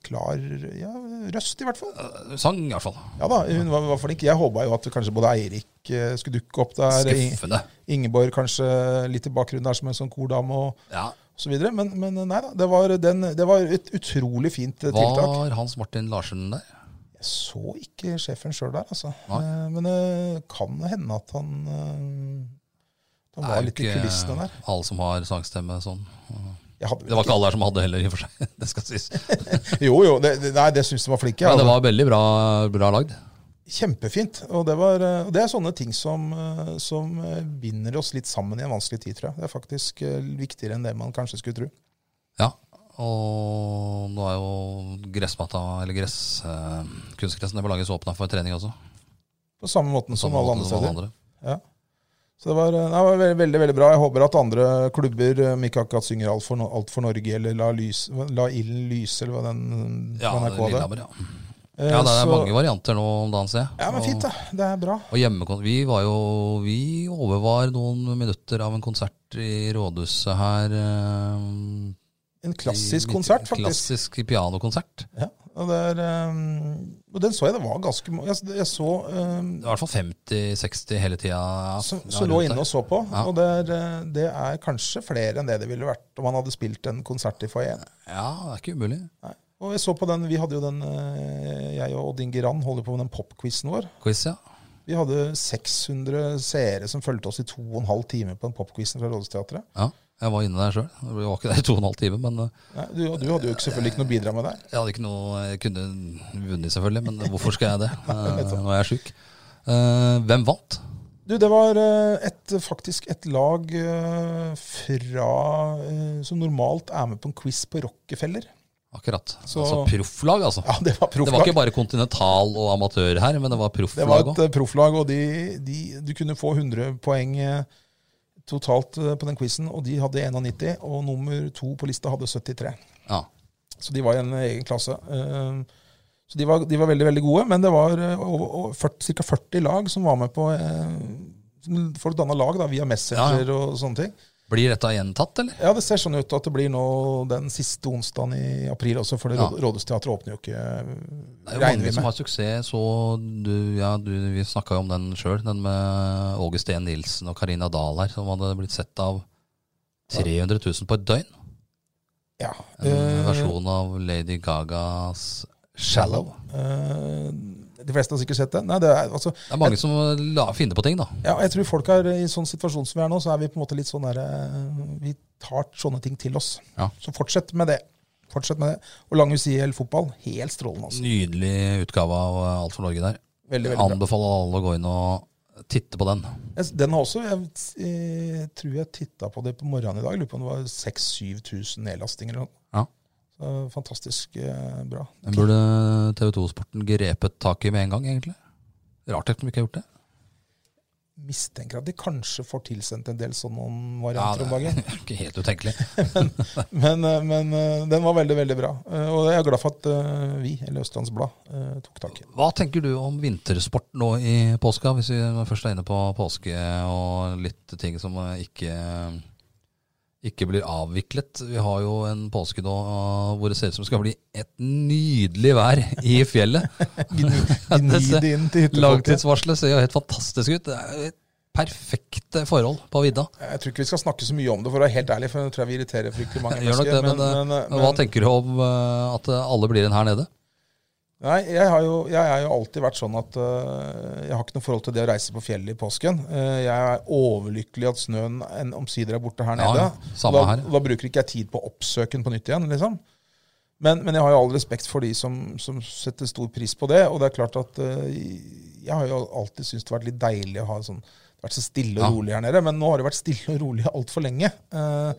Speaker 1: klar ja, røst, i hvert fall.
Speaker 2: da. Sang, i hvert fall.
Speaker 1: Ja da, hun var, var flink. Jeg håpa jo at kanskje både Eirik eh, skulle dukke opp der. Ing-
Speaker 2: Skuffende.
Speaker 1: Ingeborg kanskje litt i bakgrunnen der som en sånn kordame og
Speaker 2: Ja.
Speaker 1: så videre. Men, men nei da, det var, den, det var et utrolig fint eh, tiltak.
Speaker 2: Var Hans Martin Larsen der?
Speaker 1: Jeg så ikke sjefen sjøl der, altså.
Speaker 2: Nei.
Speaker 1: Eh, Men det kan hende at han eh, han
Speaker 2: Det er
Speaker 1: var
Speaker 2: jo
Speaker 1: litt i
Speaker 2: ikke
Speaker 1: kulissene der.
Speaker 2: Alle som har sangstemme sånn.
Speaker 1: Jeg hadde vel
Speaker 2: Det var ikke alle her som hadde heller, i og for seg. *laughs* Det skal sies.
Speaker 1: Jo, jo. Det, det, nei, det syns de var flinke.
Speaker 2: Men
Speaker 1: Ja.
Speaker 2: det var veldig bra, bra lagd.
Speaker 1: Kjempefint. Og det, var, eh, og det er sånne ting som, eh, som eh, binder oss litt sammen i en vanskelig tid, tror jeg. Det er faktisk eh, viktigere enn det man kanskje skulle tro.
Speaker 2: Ja, og nå er jo gressmatta, eller gress, eh, kunstgressene på laget så åpna for trening også.
Speaker 1: På samme måten
Speaker 2: På
Speaker 1: som
Speaker 2: samme
Speaker 1: alle
Speaker 2: måte
Speaker 1: andre
Speaker 2: som alle
Speaker 1: steder.
Speaker 2: andre.
Speaker 1: Ja. Så det var, eh, det var veldig, veldig, veldig bra. Jeg håper at andre klubber eh, om ikke akkurat synger Alt for, No- alt for Norge eller La, lys, La ilden lyse, eller hva den
Speaker 2: Ja,
Speaker 1: hva NRK hadde.
Speaker 2: Lillehammer, ja. ja, det er mange varianter nå om dagen, ser jeg.
Speaker 1: Ja, men fint,
Speaker 2: Og-
Speaker 1: da. Det er bra.
Speaker 2: Og hjemmekon- Vi var jo Vi overvar noen minutter av en konsert i rådhuset her. eh,
Speaker 1: En
Speaker 2: i
Speaker 1: klassisk
Speaker 2: midt-
Speaker 1: konsert, faktisk.
Speaker 2: Klassisk pianokonsert.
Speaker 1: Ja, og, det er, ehm, og den så jeg det var ganske ma- Jeg, jeg så ehm,
Speaker 2: Det var i hvert fall 50-60 hele tida. ja,
Speaker 1: som,
Speaker 2: ja,
Speaker 1: som lå
Speaker 2: rundt
Speaker 1: inne
Speaker 2: der.
Speaker 1: og så på.
Speaker 2: Ja.
Speaker 1: Og det er, eh, det er kanskje flere enn det det ville vært om han hadde spilt en konsert i foajeen.
Speaker 2: Ja, det er ikke umulig.
Speaker 1: Og jeg så på den, Vi hadde jo den, eh, jeg og Odd Inge Rand holder på med den popquizen vår.
Speaker 2: Quiz, ja.
Speaker 1: Vi hadde 600 seere som fulgte oss i to og en halv time på den popquizen fra Rådhusteatret.
Speaker 2: ja. Jeg var inne der sjøl. Jeg var ikke der i to og en halv time, men eh,
Speaker 1: Nei, Du, og du hadde jo ikke selvfølgelig ikke noe å bidra med der.
Speaker 2: jeg hadde ikke noe Jeg kunne vunnet, selvfølgelig, men hvorfor skal
Speaker 1: *laughs*
Speaker 2: jeg det? Eh,
Speaker 1: nettopp.
Speaker 2: Nå er jeg sjuk. Eh, hvem vant?
Speaker 1: Du, det var eh, et, faktisk et lag eh, fra eh, Som normalt er med på en quiz på Rockefeller.
Speaker 2: Akkurat.
Speaker 1: Så-
Speaker 2: altså profflag, altså.
Speaker 1: Ja, det var
Speaker 2: det var
Speaker 1: profflag.
Speaker 2: ikke bare kontinental og amatør her, men det var
Speaker 1: Det var
Speaker 2: profflag
Speaker 1: et
Speaker 2: òg.
Speaker 1: eh, profflag, og de, de, du kunne få 100 poeng eh, totalt eh, på den quizen. Og de hadde 91, og nummer to på lista hadde 73.
Speaker 2: Ja.
Speaker 1: Så de var i en egen klasse. Eh, Så de var, de var veldig veldig gode, men det var eh, ca. 40 lag som var med på eh, som Folk danna lag da, via Messenger og sånne ting.
Speaker 2: Blir dette gjentatt, eller?
Speaker 1: Ja, Det ser sånn ut at det blir nå den siste onsdagen i april også, for det
Speaker 2: Ja.
Speaker 1: Rå- Rådhusteatret åpner jo ikke, eh,
Speaker 2: Det er jo
Speaker 1: regner
Speaker 2: mange
Speaker 1: vi
Speaker 2: som
Speaker 1: med.
Speaker 2: har suksess. Så du, ja, du, vi snakka jo om den sjøl, den med Åge Steen Nilsen og Karina Dahl her, som hadde blitt sett av 300 000 på et døgn.
Speaker 1: Ja.
Speaker 2: En
Speaker 1: eh,
Speaker 2: versjon av Lady Gagas Shallow.
Speaker 1: eh, De fleste har sikkert sett den. Nei, det er, altså,
Speaker 2: Det er mange som eh, la, finner på ting, da.
Speaker 1: ja, jeg tror folk er i sånn situasjon som vi er nå, så er vi på en måte litt sånn der eh, Vi tar sånne ting til oss.
Speaker 2: Ja.
Speaker 1: Så fortsett med det. Fortsett med det. Og Langhus IL fotball, helt strålende. altså.
Speaker 2: Nydelig utgave av eh, Alt for Norge der.
Speaker 1: Veldig, veldig bra.
Speaker 2: Anbefaler alle å gå inn og titte på den.
Speaker 1: Jeg, den har også Jeg, eh, tror jeg titta på det på morgenen i dag. Lurer på om det var 6000-7000 nedlastinger eller noe.
Speaker 2: Ja.
Speaker 1: Så, fantastisk eh, bra.
Speaker 2: Den burde TV 2-sporten grepet tak i med en gang, egentlig. Rart at de ikke har gjort det. *laughs*
Speaker 1: Mistenker at de kanskje får tilsendt en del sånne
Speaker 2: Ja,
Speaker 1: varianter
Speaker 2: det
Speaker 1: om dagen.
Speaker 2: er ikke helt utenkelig.
Speaker 1: Men, eh, men eh, den var veldig, veldig bra. Eh, Og jeg er glad for at eh, vi, eller Østlands Blad, eh, tok tak i den.
Speaker 2: Hva tenker du om vintersport nå i påska, hvis vi først er inne på påske og litt ting som ikke, ikke blir avviklet? Vi har jo en påske nå hvor det ser ut som det skal bli et nydelig vær i fjellet.
Speaker 1: Gni det inn til hyttefolket.
Speaker 2: Langtidsvarselet ser jo helt fantastisk ut. Det er jo et perfekte forhold på vidda.
Speaker 1: Jeg tror ikke vi skal snakke så mye om det, for å være helt ærlig. For jeg tror jeg vi irriterer fryktelig mange
Speaker 2: Gjør nok det, men, eh, hva tenker du om eh, at alle blir igjen her nede?
Speaker 1: Nei, jeg har jo, jeg er jo alltid vært sånn at øh, jeg har ikke noe forhold til det å reise på fjellet i påsken. Eh, jeg er overlykkelig at snøen en- omsider er borte her
Speaker 2: Ja,
Speaker 1: nede.
Speaker 2: samme
Speaker 1: da,
Speaker 2: her.
Speaker 1: da bruker ikke jeg tid på å oppsøke den på nytt igjen, liksom. Men, men jeg har jo all respekt for de som, som setter stor pris på det. Og det er klart at øh, jeg har jo alltid syntes det har vært litt deilig å ha sånn det har vært så stille og
Speaker 2: Ja.
Speaker 1: rolig her nede, men nå har det vært stille og rolig altfor lenge. Eh,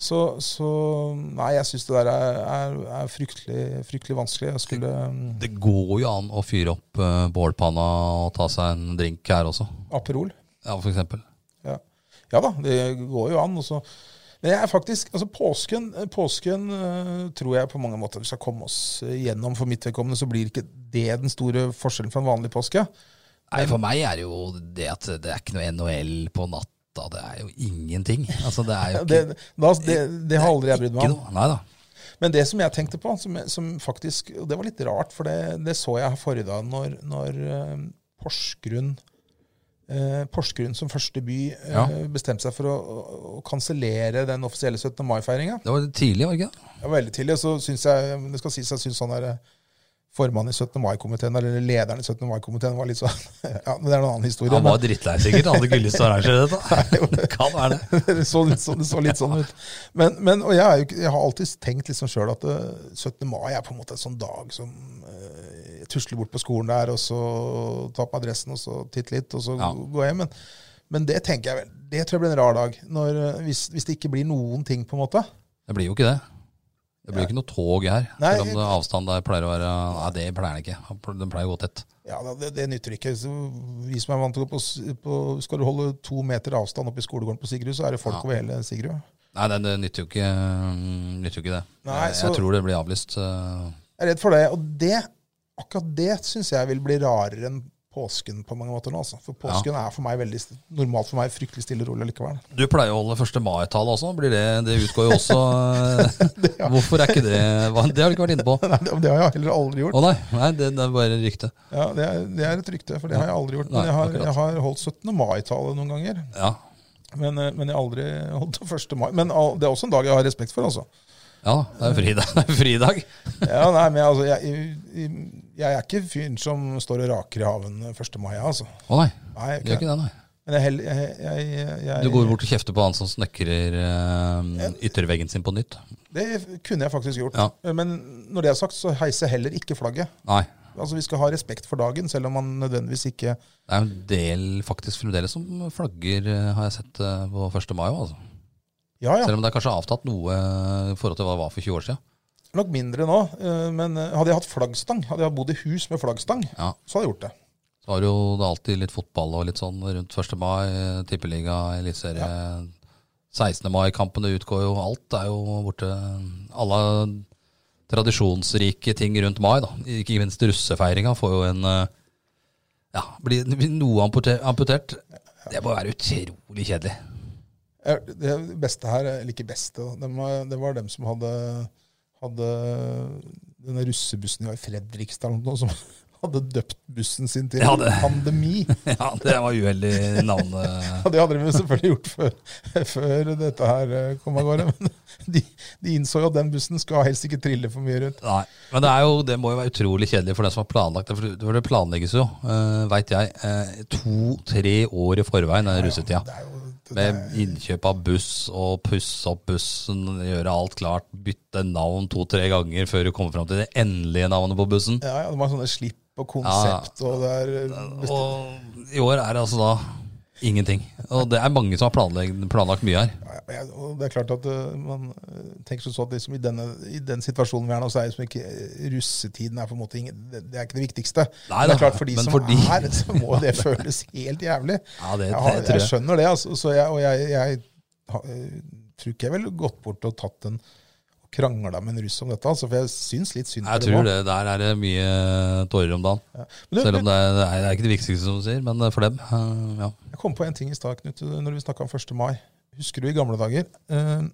Speaker 1: så, så Nei, jeg syns det der er, er, er fryktelig, fryktelig vanskelig. Jeg skulle mm,
Speaker 2: Det går jo an å fyre opp eh, bålpanna og ta seg en drink her også.
Speaker 1: Aperol.
Speaker 2: Ja, for eksempel.
Speaker 1: Ja. ja da, det går jo an. og så- Men jeg er faktisk, altså Påsken, påsken eh, tror jeg på mange måter vi skal komme oss gjennom. For mitt vedkommende så blir ikke det den store forskjellen fra en vanlig påske.
Speaker 2: Nei, for meg er det jo det at det er ikke noe NHL på natta. Det er jo ingenting. Altså,
Speaker 1: *laughs*
Speaker 2: det er jo ikke,
Speaker 1: Det, da, det, det har aldri jeg brydd meg
Speaker 2: ikke
Speaker 1: om.
Speaker 2: noe. Nei da.
Speaker 1: Men det som jeg tenkte på, som, som faktisk Og det var litt rart, for det, det så jeg her forrige dag, når, når eh, Porsgrunn eh, Porsgrunn som første by eh,
Speaker 2: Ja.
Speaker 1: bestemte seg for å, å- å kansellere den offisielle 17. mai-feiringa.
Speaker 2: Det var litt tidlig, var det ikke? det?
Speaker 1: Det var veldig tidlig. Så syns jeg men det skal sies, jeg syns han der eh, formannen i 17. mai-komiteen, eller lederen i 17. mai-komiteen, var litt sånn *laughs* Ja, men det er en annen historie.
Speaker 2: Han
Speaker 1: men-
Speaker 2: var drittlei sikkert. Han hadde ikke lyst til å arrangere
Speaker 1: *laughs*
Speaker 2: dette. Det kan være det.
Speaker 1: det, så litt sånn, det så litt sånn ut. Men, men og jeg, er jo, ikke- jeg har alltid tenkt liksom sjøl at eh, 17. mai er på en måte en sånn dag som eh, Jeg tusler bort på skolen der, og så tar på adressen, og så titter litt, og så
Speaker 2: Ja.
Speaker 1: går jeg hjem. Men, men det tenker jeg vel, det tror jeg blir en rar dag. Når, eh, hvis, hvis det ikke blir noen ting, på en måte.
Speaker 2: Det blir jo ikke det. Det blir ikke noe tog her,
Speaker 1: Nei,
Speaker 2: selv om det avstand der pleier å være Nei, det pleier den ikke. Den pleier å gå tett.
Speaker 1: Ja, da, det, det nytter ikke. Så vi som er vant til å gå på, s- på Skal du holde to meter avstand oppe i skolegården på Sigrud, så er det folk
Speaker 2: Ja.
Speaker 1: over hele Sigrud.
Speaker 2: Nei, det, det nytter jo ikke, mm, nytter jo ikke det.
Speaker 1: Nei,
Speaker 2: jeg,
Speaker 1: så-
Speaker 2: jeg tror det blir avlyst. eh,
Speaker 1: Jeg er redd for det. Og det, akkurat det syns jeg vil bli rarere enn påsken på mange måter nå. Altså. For påsken er for meg veldig st- normalt for meg fryktelig stille og rolig likevel. *laughs*
Speaker 2: Du pleier å holde 1. mai-tallet også. Blir det, det utgår jo også. eh,
Speaker 1: Det, *laughs* ja.
Speaker 2: Hvorfor er ikke det hva- Det har du ikke vært inne på.
Speaker 1: Nei, det det har jeg heller aldri
Speaker 2: Å
Speaker 1: gjort.
Speaker 2: nei, nei det, det er bare rykte.
Speaker 1: Ja, det, er, det er et rykte, for det har jeg aldri gjort.
Speaker 2: Nei,
Speaker 1: Men jeg har,
Speaker 2: akkurat.
Speaker 1: jeg har holdt 17. mai-tale noen ganger.
Speaker 2: Ja.
Speaker 1: Men, eh, men jeg har aldri holdt 1. mai. Men al- det er også en dag jeg har respekt for, altså.
Speaker 2: ja, det er jo fridag. *laughs* Det er jo fridag.
Speaker 1: Ja, nei, men altså, jeg, jeg, jeg er ikke fyren som står og raker i haven 1. mai, altså.
Speaker 2: Å nei,
Speaker 1: Nei,
Speaker 2: det gjør
Speaker 1: ikke det.
Speaker 2: ikke det, nei.
Speaker 1: Men jeg, hell- jeg, jeg, jeg, jeg
Speaker 2: Du går bort og kjefter på han som snekrer eh, ytterveggen sin på nytt.
Speaker 1: Det kunne jeg faktisk gjort.
Speaker 2: Ja.
Speaker 1: Men når det er sagt, så heiser jeg heller ikke flagget.
Speaker 2: Nei.
Speaker 1: Altså Vi skal ha respekt for dagen, selv om man nødvendigvis ikke
Speaker 2: Det er jo en del faktisk fremdeles som flagger, eh, har jeg sett eh, på 1. mai òg. Altså.
Speaker 1: Ja ja,
Speaker 2: Selv om det er kanskje avtatt noe eh, i forhold til hva det var for 20 år siden.
Speaker 1: nok mindre nå, eh, men eh, hadde jeg hatt flaggstang, hadde jeg bodd i hus med flaggstang,
Speaker 2: Ja.
Speaker 1: så hadde jeg gjort det.
Speaker 2: Så har du jo da alltid litt fotball og litt sånn rundt 1. mai. eh, Tippeliga, eliteserie. 16. mai-kampene utgår jo. Alt er jo borte. Alle tradisjonsrike ting rundt mai, da. Ikke minst russefeiringa får jo en eh, Ja, blir blir noe ampute- amputert. Det må være utrolig kjedelig. *laughs*
Speaker 1: Eh, Det beste her, eller ikke beste, da, dem var- det var dem som hadde, hadde denne russebussen i Fredrikstad eller noe, som *laughs* hadde døpt bussen sin til
Speaker 2: Ja, det-
Speaker 1: pandemi.
Speaker 2: Ja, det var uheldig navn. eh.
Speaker 1: Ja, Det hadde de jo selvfølgelig gjort før, før dette her eh, kom av gårde. Men *laughs* de, de innså jo at den bussen skal helst ikke trille for mye rundt.
Speaker 2: Nei, men det, er jo, det må jo være utrolig kjedelig for den som har planlagt det. For det- for det planlegges jo, uh, veit jeg, to-tre år i forveien den russetida.
Speaker 1: Det er jo, det, det,
Speaker 2: Med innkjøp av buss og pusse opp bussen, gjøre alt klart, bytte navn to-tre ganger før du kommer fram til det endelige navnet på bussen.
Speaker 1: ja, ja, det var sånne slipp og konsept, og det er eh, best-
Speaker 2: Og i år er det altså da ingenting. Og det er mange som har planlagt, planlagt mye her.
Speaker 1: ja, ja, og det er klart at eh, man eh, tenker som så at liksom i, denne, i den situasjonen vi er nå, så er liksom ikke eh, russetiden er på en måte ingen, det, det er ikke det viktigste.
Speaker 2: Nei
Speaker 1: det
Speaker 2: da,
Speaker 1: er klart For de
Speaker 2: men
Speaker 1: som
Speaker 2: for de-
Speaker 1: er, *laughs* så må det føles helt jævlig.
Speaker 2: Ja, *laughs* det, det
Speaker 1: Jeg, har, jeg
Speaker 2: tror jeg.
Speaker 1: skjønner det, altså, så jeg, og jeg, jeg har- eh, tror ikke jeg ville gått bort og tatt en og krangla med en russ om dette, altså, for jeg syns litt synd
Speaker 2: Jeg
Speaker 1: på dem
Speaker 2: tror
Speaker 1: også.
Speaker 2: det. Der er det mye tårer om dagen.
Speaker 1: Men du,
Speaker 2: Selv om det er, det er- det er ikke det viktigste som du sier, men for dem, eh, ja.
Speaker 1: Jeg kom på en ting i stad, Knut, når vi snakka om 1. mai. Husker du i gamle dager? Eh,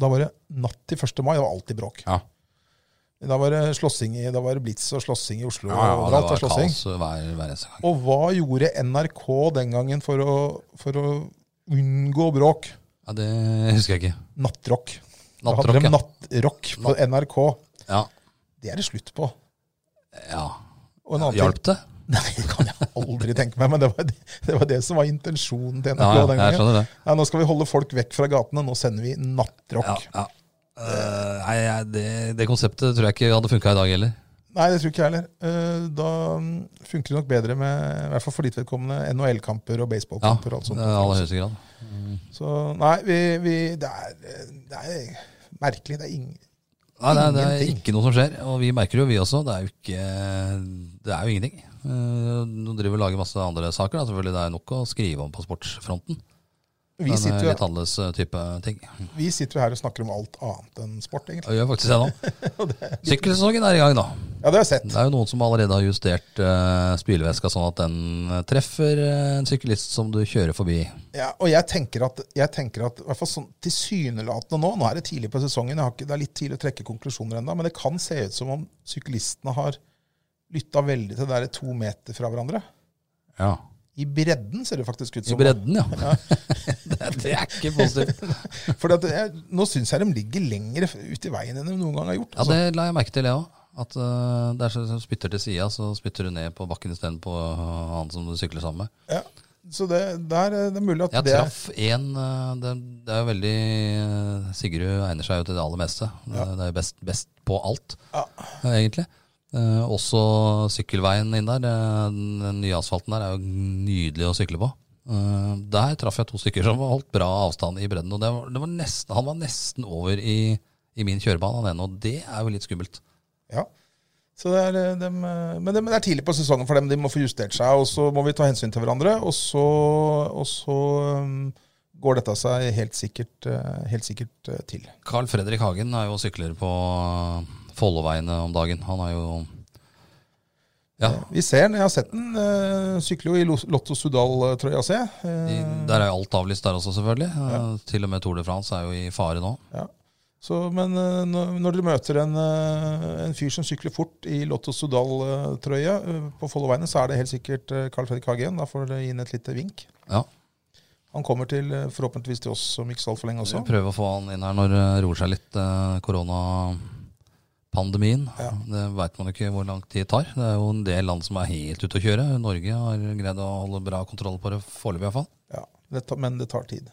Speaker 1: da var det natt til 1. mai. Det var alltid bråk.
Speaker 2: Ja.
Speaker 1: Da var det slåssing i, da var det blits og slåssing i Oslo.
Speaker 2: Ja,
Speaker 1: og
Speaker 2: det
Speaker 1: overalt
Speaker 2: var
Speaker 1: var slåssing.
Speaker 2: kaos hver, hver eneste gang.
Speaker 1: Og hva gjorde NRK den gangen for å, for å unngå bråk?
Speaker 2: Ja, det husker jeg ikke.
Speaker 1: Nattrock. Da hadde
Speaker 2: Nattrock,
Speaker 1: de
Speaker 2: ja.
Speaker 1: nattrock på NRK.
Speaker 2: ja.
Speaker 1: Det er det slutt på.
Speaker 2: ja.
Speaker 1: Og en annen ting- *laughs*
Speaker 2: Hjalp det?
Speaker 1: Nei, det kan jeg aldri tenke meg, men det var det, det, var det som var intensjonen til
Speaker 2: Ja,
Speaker 1: NRK
Speaker 2: ja,
Speaker 1: den
Speaker 2: jeg
Speaker 1: gangen.
Speaker 2: skjønner det.
Speaker 1: Ja, nå skal vi holde folk vekk fra gatene. Nå sender vi
Speaker 2: Ja,
Speaker 1: nattrock.
Speaker 2: ja. Eh, nei, jeg- det, det konseptet tror jeg ikke hadde funka i dag heller.
Speaker 1: Nei, det tror ikke jeg heller. Eh, Da mm, funker det nok bedre med, i hvert fall for ditt vedkommende, NHL-kamper og
Speaker 2: Ja,
Speaker 1: baseballkamper og alt
Speaker 2: i
Speaker 1: sånt.
Speaker 2: aller høyeste grad.
Speaker 1: Så nei, vi, vi det, er, det er merkelig. Det er ingen
Speaker 2: Nei, nei, det er
Speaker 1: Ingenting.
Speaker 2: ikke noe som skjer. Og vi merker det jo, vi også. Det er jo ikke Det er jo ingenting. Eh, Nå driver vi og lager masse andre saker. Da. Selvfølgelig det er nok å skrive om på sportsfronten.
Speaker 1: vi
Speaker 2: Men det
Speaker 1: sitter,
Speaker 2: er
Speaker 1: jo,
Speaker 2: litt annerledes eh, type ting.
Speaker 1: vi sitter jo her og snakker om alt annet enn sport, egentlig.
Speaker 2: Jeg gjør faktisk det
Speaker 1: *laughs*
Speaker 2: nå. Sykkelsesongen er i gang, da.
Speaker 1: Ja, det har jeg sett.
Speaker 2: Det er jo noen som allerede har justert eh, spylevæska sånn at den eh, treffer eh, en syklist som du kjører forbi.
Speaker 1: Ja, og jeg tenker at, jeg tenker at i hvert fall sånn tilsynelatende nå Nå er det tidlig på sesongen, jeg har ikke, det er litt tidlig å trekke konklusjoner ennå, men det kan se ut som om syklistene har lytta veldig til det der to meter fra hverandre.
Speaker 2: Ja.
Speaker 1: I bredden ser det faktisk ut
Speaker 2: I
Speaker 1: som.
Speaker 2: bredden, *laughs* ja. det, det er ikke positivt.
Speaker 1: Fordi at jeg, nå syns jeg de ligger lenger ut i veien enn de noen gang har gjort.
Speaker 2: Ja,
Speaker 1: Altså.
Speaker 2: det la jeg merke til, jeg òg. At eh, det er sånn som spytter til sida, så spytter du ned på bakken istedenfor uh, han som du sykler sammen med.
Speaker 1: Ja, så det, der, eh, det er mulig at
Speaker 2: Jeg
Speaker 1: det
Speaker 2: traff en eh, det, det er jo veldig eh, Sigrud egner seg jo til det aller meste. Det- Det er jo best, best på alt,
Speaker 1: Ja.
Speaker 2: eh, egentlig. Eh, også sykkelveien inn der. eh, Den den nye asfalten der er jo nydelig å sykle på. Eh, der traff jeg to stykker som holdt bra avstand i bredden. Og det var, det var nesten, han var nesten over i, i i min kjørebane han ennå. Det er jo litt skummelt.
Speaker 1: Ja. Så det er, eh, dem, eh, men det, men det er tidlig på sesongen for dem. De må få justert seg, og så må vi ta hensyn til hverandre. Og så, og så eh, går dette seg helt sikkert, eh, helt sikkert eh, til.
Speaker 2: Carl Fredrik Hagen er jo sykler på Folloveiene om dagen. Han er jo Ja,
Speaker 1: Vi ser den, jeg har sett den. eh, Sykler jo i Lo- Lotto Sudal-trøya, ser jeg.
Speaker 2: de,
Speaker 1: Eh,
Speaker 2: der er jo alt avlyst der også, selvfølgelig. Eh, Til og med Tour de France er jo i fare nå.
Speaker 1: Så, men eh, når når dere møter en, eh, en fyr som sykler fort i Lotto Sudal-trøye på Folloveiene, så er det helt sikkert eh, Carl Fredrik Hagen. Da får dere gi inn et lite vink.
Speaker 2: Ja,
Speaker 1: Han kommer til, eh, forhåpentligvis til oss om ikke så altfor lenge også.
Speaker 2: Vi prøver å få han inn her når det roer seg litt, eh, koronapandemien.
Speaker 1: Ja.
Speaker 2: Det veit man jo ikke hvor lang tid det tar. Det er jo en del land som er helt ute å kjøre. Norge har greid å holde bra kontroll på det foreløpig iallfall.
Speaker 1: Ja, det tar, men det tar tid.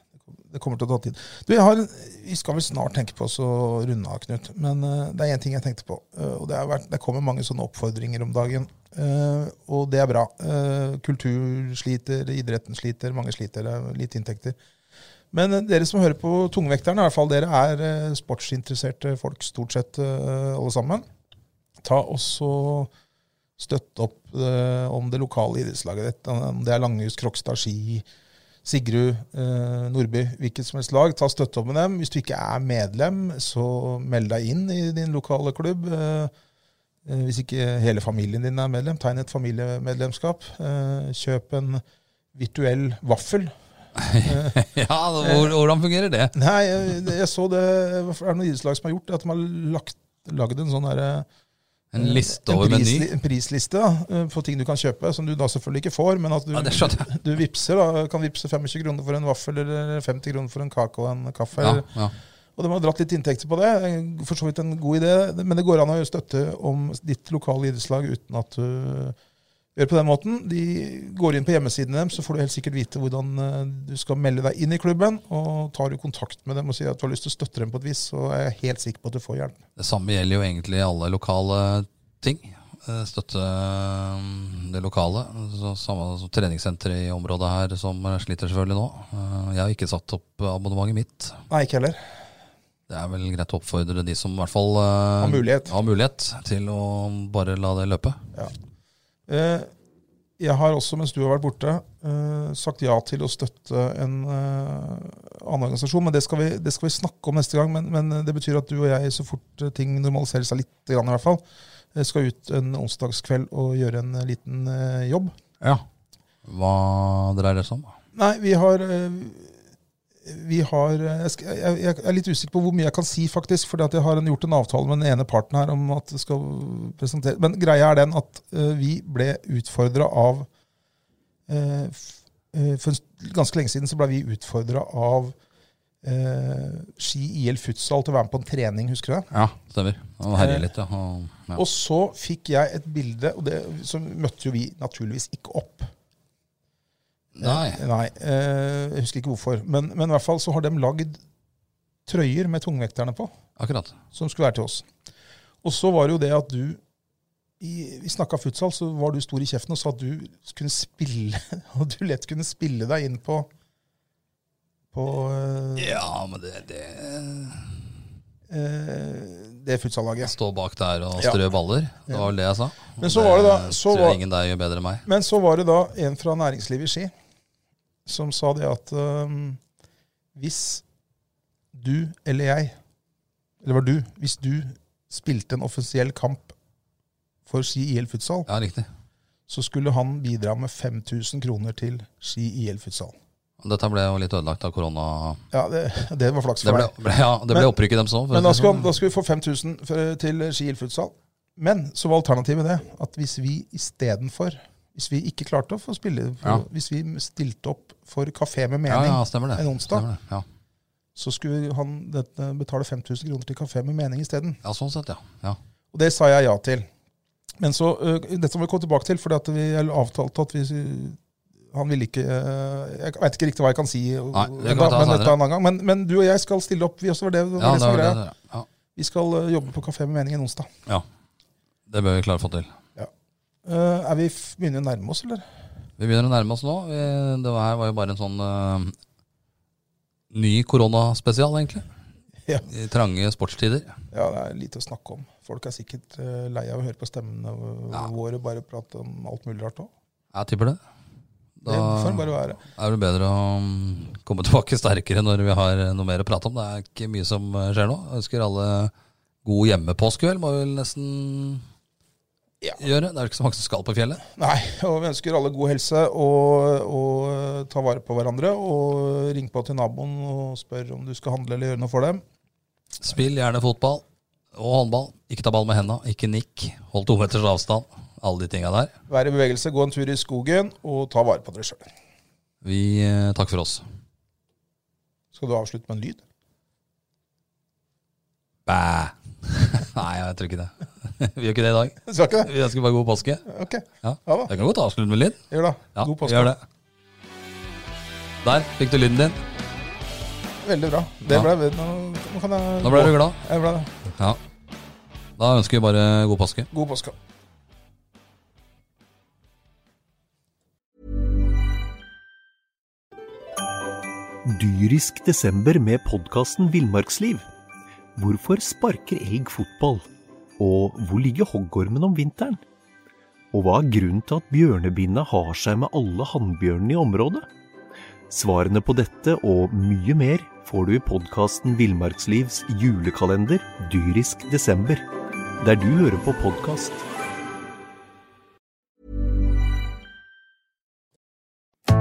Speaker 1: Det kommer til å ta tid. Du, jeg har, en- vi skal vel snart tenke på oss å runde av, Knut. Men eh, det er én ting jeg tenkte på. eh, og Det, har vært, det kommer mange sånne oppfordringer om dagen. eh, og det er bra. Eh, kultur sliter, idretten sliter, mange sliter. Det er lite inntekter. Men eh, dere som hører på Tungvekterne, i hvert fall dere er eh, sportsinteresserte folk stort sett eh, alle sammen. Ta også støtt opp eh, om det lokale idrettslaget ditt. Om det er Langhus, Krokstad, Ski, Sigrud, eh, Nordby, hvilket som helst lag. Ta støtte opp med dem. Hvis du ikke er medlem, så meld deg inn i din lokale klubb. Eh, eh, hvis ikke hele familien din er medlem, tegn et familiemedlemskap. Eh, kjøp en virtuell vaffel.
Speaker 2: *laughs* ja,
Speaker 1: Eh.
Speaker 2: hvor, hvordan fungerer det?
Speaker 1: Nei, jeg, jeg så det Er det noen idrettslag som har gjort det? At de har lagt, lagd en sånn derre
Speaker 2: En liste
Speaker 1: en
Speaker 2: over
Speaker 1: prisli-
Speaker 2: meny?
Speaker 1: En prisliste da, eh, på ting du kan kjøpe, som du da selvfølgelig ikke får. Men at du,
Speaker 2: Ja, det skjønner jeg.
Speaker 1: du vipser, da, kan vipse 25 kroner for en vaffel eller 50 kroner for en kake og en kaffe.
Speaker 2: Ja,
Speaker 1: eller-
Speaker 2: ja.
Speaker 1: Og de har dratt litt inntekter på det. For så vidt en god idé. Men det går an å støtte om ditt lokale idrettslag uten at du gjør på den måten. De går inn på hjemmesiden dem, så får du helt sikkert vite hvordan eh, du skal melde deg inn i klubben. Og tar du kontakt med dem og sier at du har lyst til å støtte dem på et vis, så er jeg helt sikker på at du får hjelp.
Speaker 2: Det samme gjelder jo egentlig alle lokale ting. Eh, Støtte eh, det lokale. Så samme som treningssenteret i området her, som sliter selvfølgelig nå. Eh, Jeg har ikke satt opp abonnementet mitt.
Speaker 1: Nei, ikke heller.
Speaker 2: Det er vel greit å oppfordre de som i hvert fall eh,
Speaker 1: Har mulighet.
Speaker 2: har mulighet til å bare la det løpe.
Speaker 1: Eh, Jeg har også, mens du har vært borte, eh, sagt ja til å støtte en eh, annen organisasjon. Men det skal, vi, det skal vi snakke om neste gang. Men, men det betyr at du og jeg, så fort eh, ting normaliserer seg litt, grann, i hvert fall, eh, skal ut en onsdagskveld og gjøre en eh, liten eh, jobb.
Speaker 2: Ja. Hva dreier det seg om?
Speaker 1: Nei, vi har eh, vi har, eh, jeg, skal, jeg, jeg er litt usikker på hvor mye jeg kan si, faktisk. For jeg har en- gjort en avtale med den ene parten her om at det skal presentere Men greia er den at eh, vi ble utfordra av eh, f- eh, For en s- ganske lenge siden så ble vi utfordra av eh, Ski IL Futsal til å være med på en trening, husker du det?
Speaker 2: Ja, Stemmer. Han herjer litt, ja. Han- ja.
Speaker 1: Eh, Og så fikk jeg et bilde, og det så møtte jo vi naturligvis ikke opp.
Speaker 2: Nei.
Speaker 1: Nei, eh, jeg husker ikke hvorfor. Men, men i hvert fall så har de lagd trøyer med tungvekterne på,
Speaker 2: Akkurat.
Speaker 1: som skulle være til oss. Og så var det jo det at du i, Vi snakka futsal, så var du stor i kjeften og sa at du kunne spille *laughs* at du lett kunne spille deg inn på på eh,
Speaker 2: Ja, men det, det
Speaker 1: eh, det futsallaget.
Speaker 2: Stå bak der og
Speaker 1: Ja.
Speaker 2: strø baller. Det var vel det jeg sa.
Speaker 1: Men så var det da- så
Speaker 2: tror
Speaker 1: var-
Speaker 2: jeg ingen der gjør bedre enn meg.
Speaker 1: Men så var det da en fra næringslivet i Ski som sa det at øhm, hvis du eller jeg, eller var du, hvis du spilte en offisiell kamp for Ski IL Futsal,
Speaker 2: Ja, riktig.
Speaker 1: så skulle han bidra med 5000 kroner til Ski IL Futsal.
Speaker 2: Dette ble jo litt ødelagt av korona.
Speaker 1: Ja, det, det var flaks
Speaker 2: Det
Speaker 1: for
Speaker 2: ble,
Speaker 1: deg.
Speaker 2: ble, ja, det ble
Speaker 1: Men-
Speaker 2: opprykk i dem så. for
Speaker 1: Men
Speaker 2: å
Speaker 1: da
Speaker 2: si det
Speaker 1: skulle,
Speaker 2: sånn.
Speaker 1: han- da skulle vi få 5000 for- til Ski IL Futsal. Men så var alternativet det at hvis vi istedenfor Hvis vi ikke klarte å få spille på,
Speaker 2: Ja.
Speaker 1: Hvis vi stilte opp for Kafé med
Speaker 2: ja,
Speaker 1: mening
Speaker 2: ja, stemmer det.
Speaker 1: en onsdag.
Speaker 2: Stemmer det. Ja.
Speaker 1: så skulle han dette, betale 5000 kroner til kafé med mening isteden.
Speaker 2: ja, sånn sett, ja. ja.
Speaker 1: Og det sa jeg ja til. Men så, øh, Dette må vi komme tilbake til, for vi eller avtalte at vi Han ville ikke øh, Jeg veit ikke riktig hva jeg kan si, øh,
Speaker 2: Nei, det kan vi
Speaker 1: da,
Speaker 2: ta
Speaker 1: men dette er
Speaker 2: senere.
Speaker 1: en annen gang. Men, men du og jeg skal stille opp, vi også. var det, var
Speaker 2: Ja,
Speaker 1: det,
Speaker 2: det,
Speaker 1: som var
Speaker 2: var det,
Speaker 1: greia.
Speaker 2: det, ja.
Speaker 1: Vi skal øh, jobbe på Kafé med mening en onsdag.
Speaker 2: det bør vi klare å få til.
Speaker 1: Uh, er vi f- begynner vi å nærme oss, eller?
Speaker 2: Vi begynner å nærme oss nå. Vi, det var- her var jo bare en sånn eh, ny koronaspesial, egentlig.
Speaker 1: Ja.
Speaker 2: i trange sportstider.
Speaker 1: Ja, det er lite å snakke om. Folk er sikkert eh, lei av å høre på stemmene v-
Speaker 2: Ja.
Speaker 1: våre bare prate om alt mulig rart òg.
Speaker 2: Jeg tipper det. Da
Speaker 1: Det får bare være.
Speaker 2: er det bedre å mm, komme tilbake sterkere når vi har eh, noe mer å prate om. Det er ikke mye som eh, skjer nå. Jeg ønsker alle god hjemmepåskekveld, må vi vel nesten
Speaker 1: Ja.
Speaker 2: gjøre. Det er jo ikke så mange som skal på fjellet.
Speaker 1: Nei, *laughs* og vi ønsker alle god helse og, og eh, ta vare på hverandre. Og ring på til naboen og spør om du skal handle eller gjøre noe for dem.
Speaker 2: Spill gjerne fotball og håndball. Ikke ta ball med henda, ikke nikk. Hold to meters avstand. Alle de tinga der.
Speaker 1: Vær i bevegelse, gå en tur i skogen, og ta vare på dere sjøl.
Speaker 2: Vi eh, takker for oss.
Speaker 1: Skal du avslutte med en lyd? *laughs*
Speaker 2: Bæ! *laughs* Nei, jeg tror ikke det. *laughs* Vi gjør ikke det i dag.
Speaker 1: Skal ikke det?
Speaker 2: Vi ønsker bare god påske.
Speaker 1: Ok,
Speaker 2: Ja.
Speaker 1: ja da.
Speaker 2: Jeg kan godt avslutte med litt.
Speaker 1: Gjør det.
Speaker 2: Ja,
Speaker 1: God påske.
Speaker 2: Gjør det. Der fikk du lyden din.
Speaker 1: Veldig bra. Det
Speaker 2: Ja.
Speaker 1: ble, nå, nå kan jeg
Speaker 2: Nå ble du glad.
Speaker 1: Jeg ble det.
Speaker 2: Ja. Da ønsker vi bare god påske.
Speaker 1: God påske.
Speaker 4: Dyrisk desember med podkasten Villmarksliv. Hvorfor sparker elg fotball? Og hvor ligger hoggormen om vinteren? Og hva er grunnen til at bjørnebinna har seg med alle hannbjørnene i området? Svarene på dette og mye mer får du i podkasten Villmarkslivs julekalender Dyrisk desember, der du hører på podkast.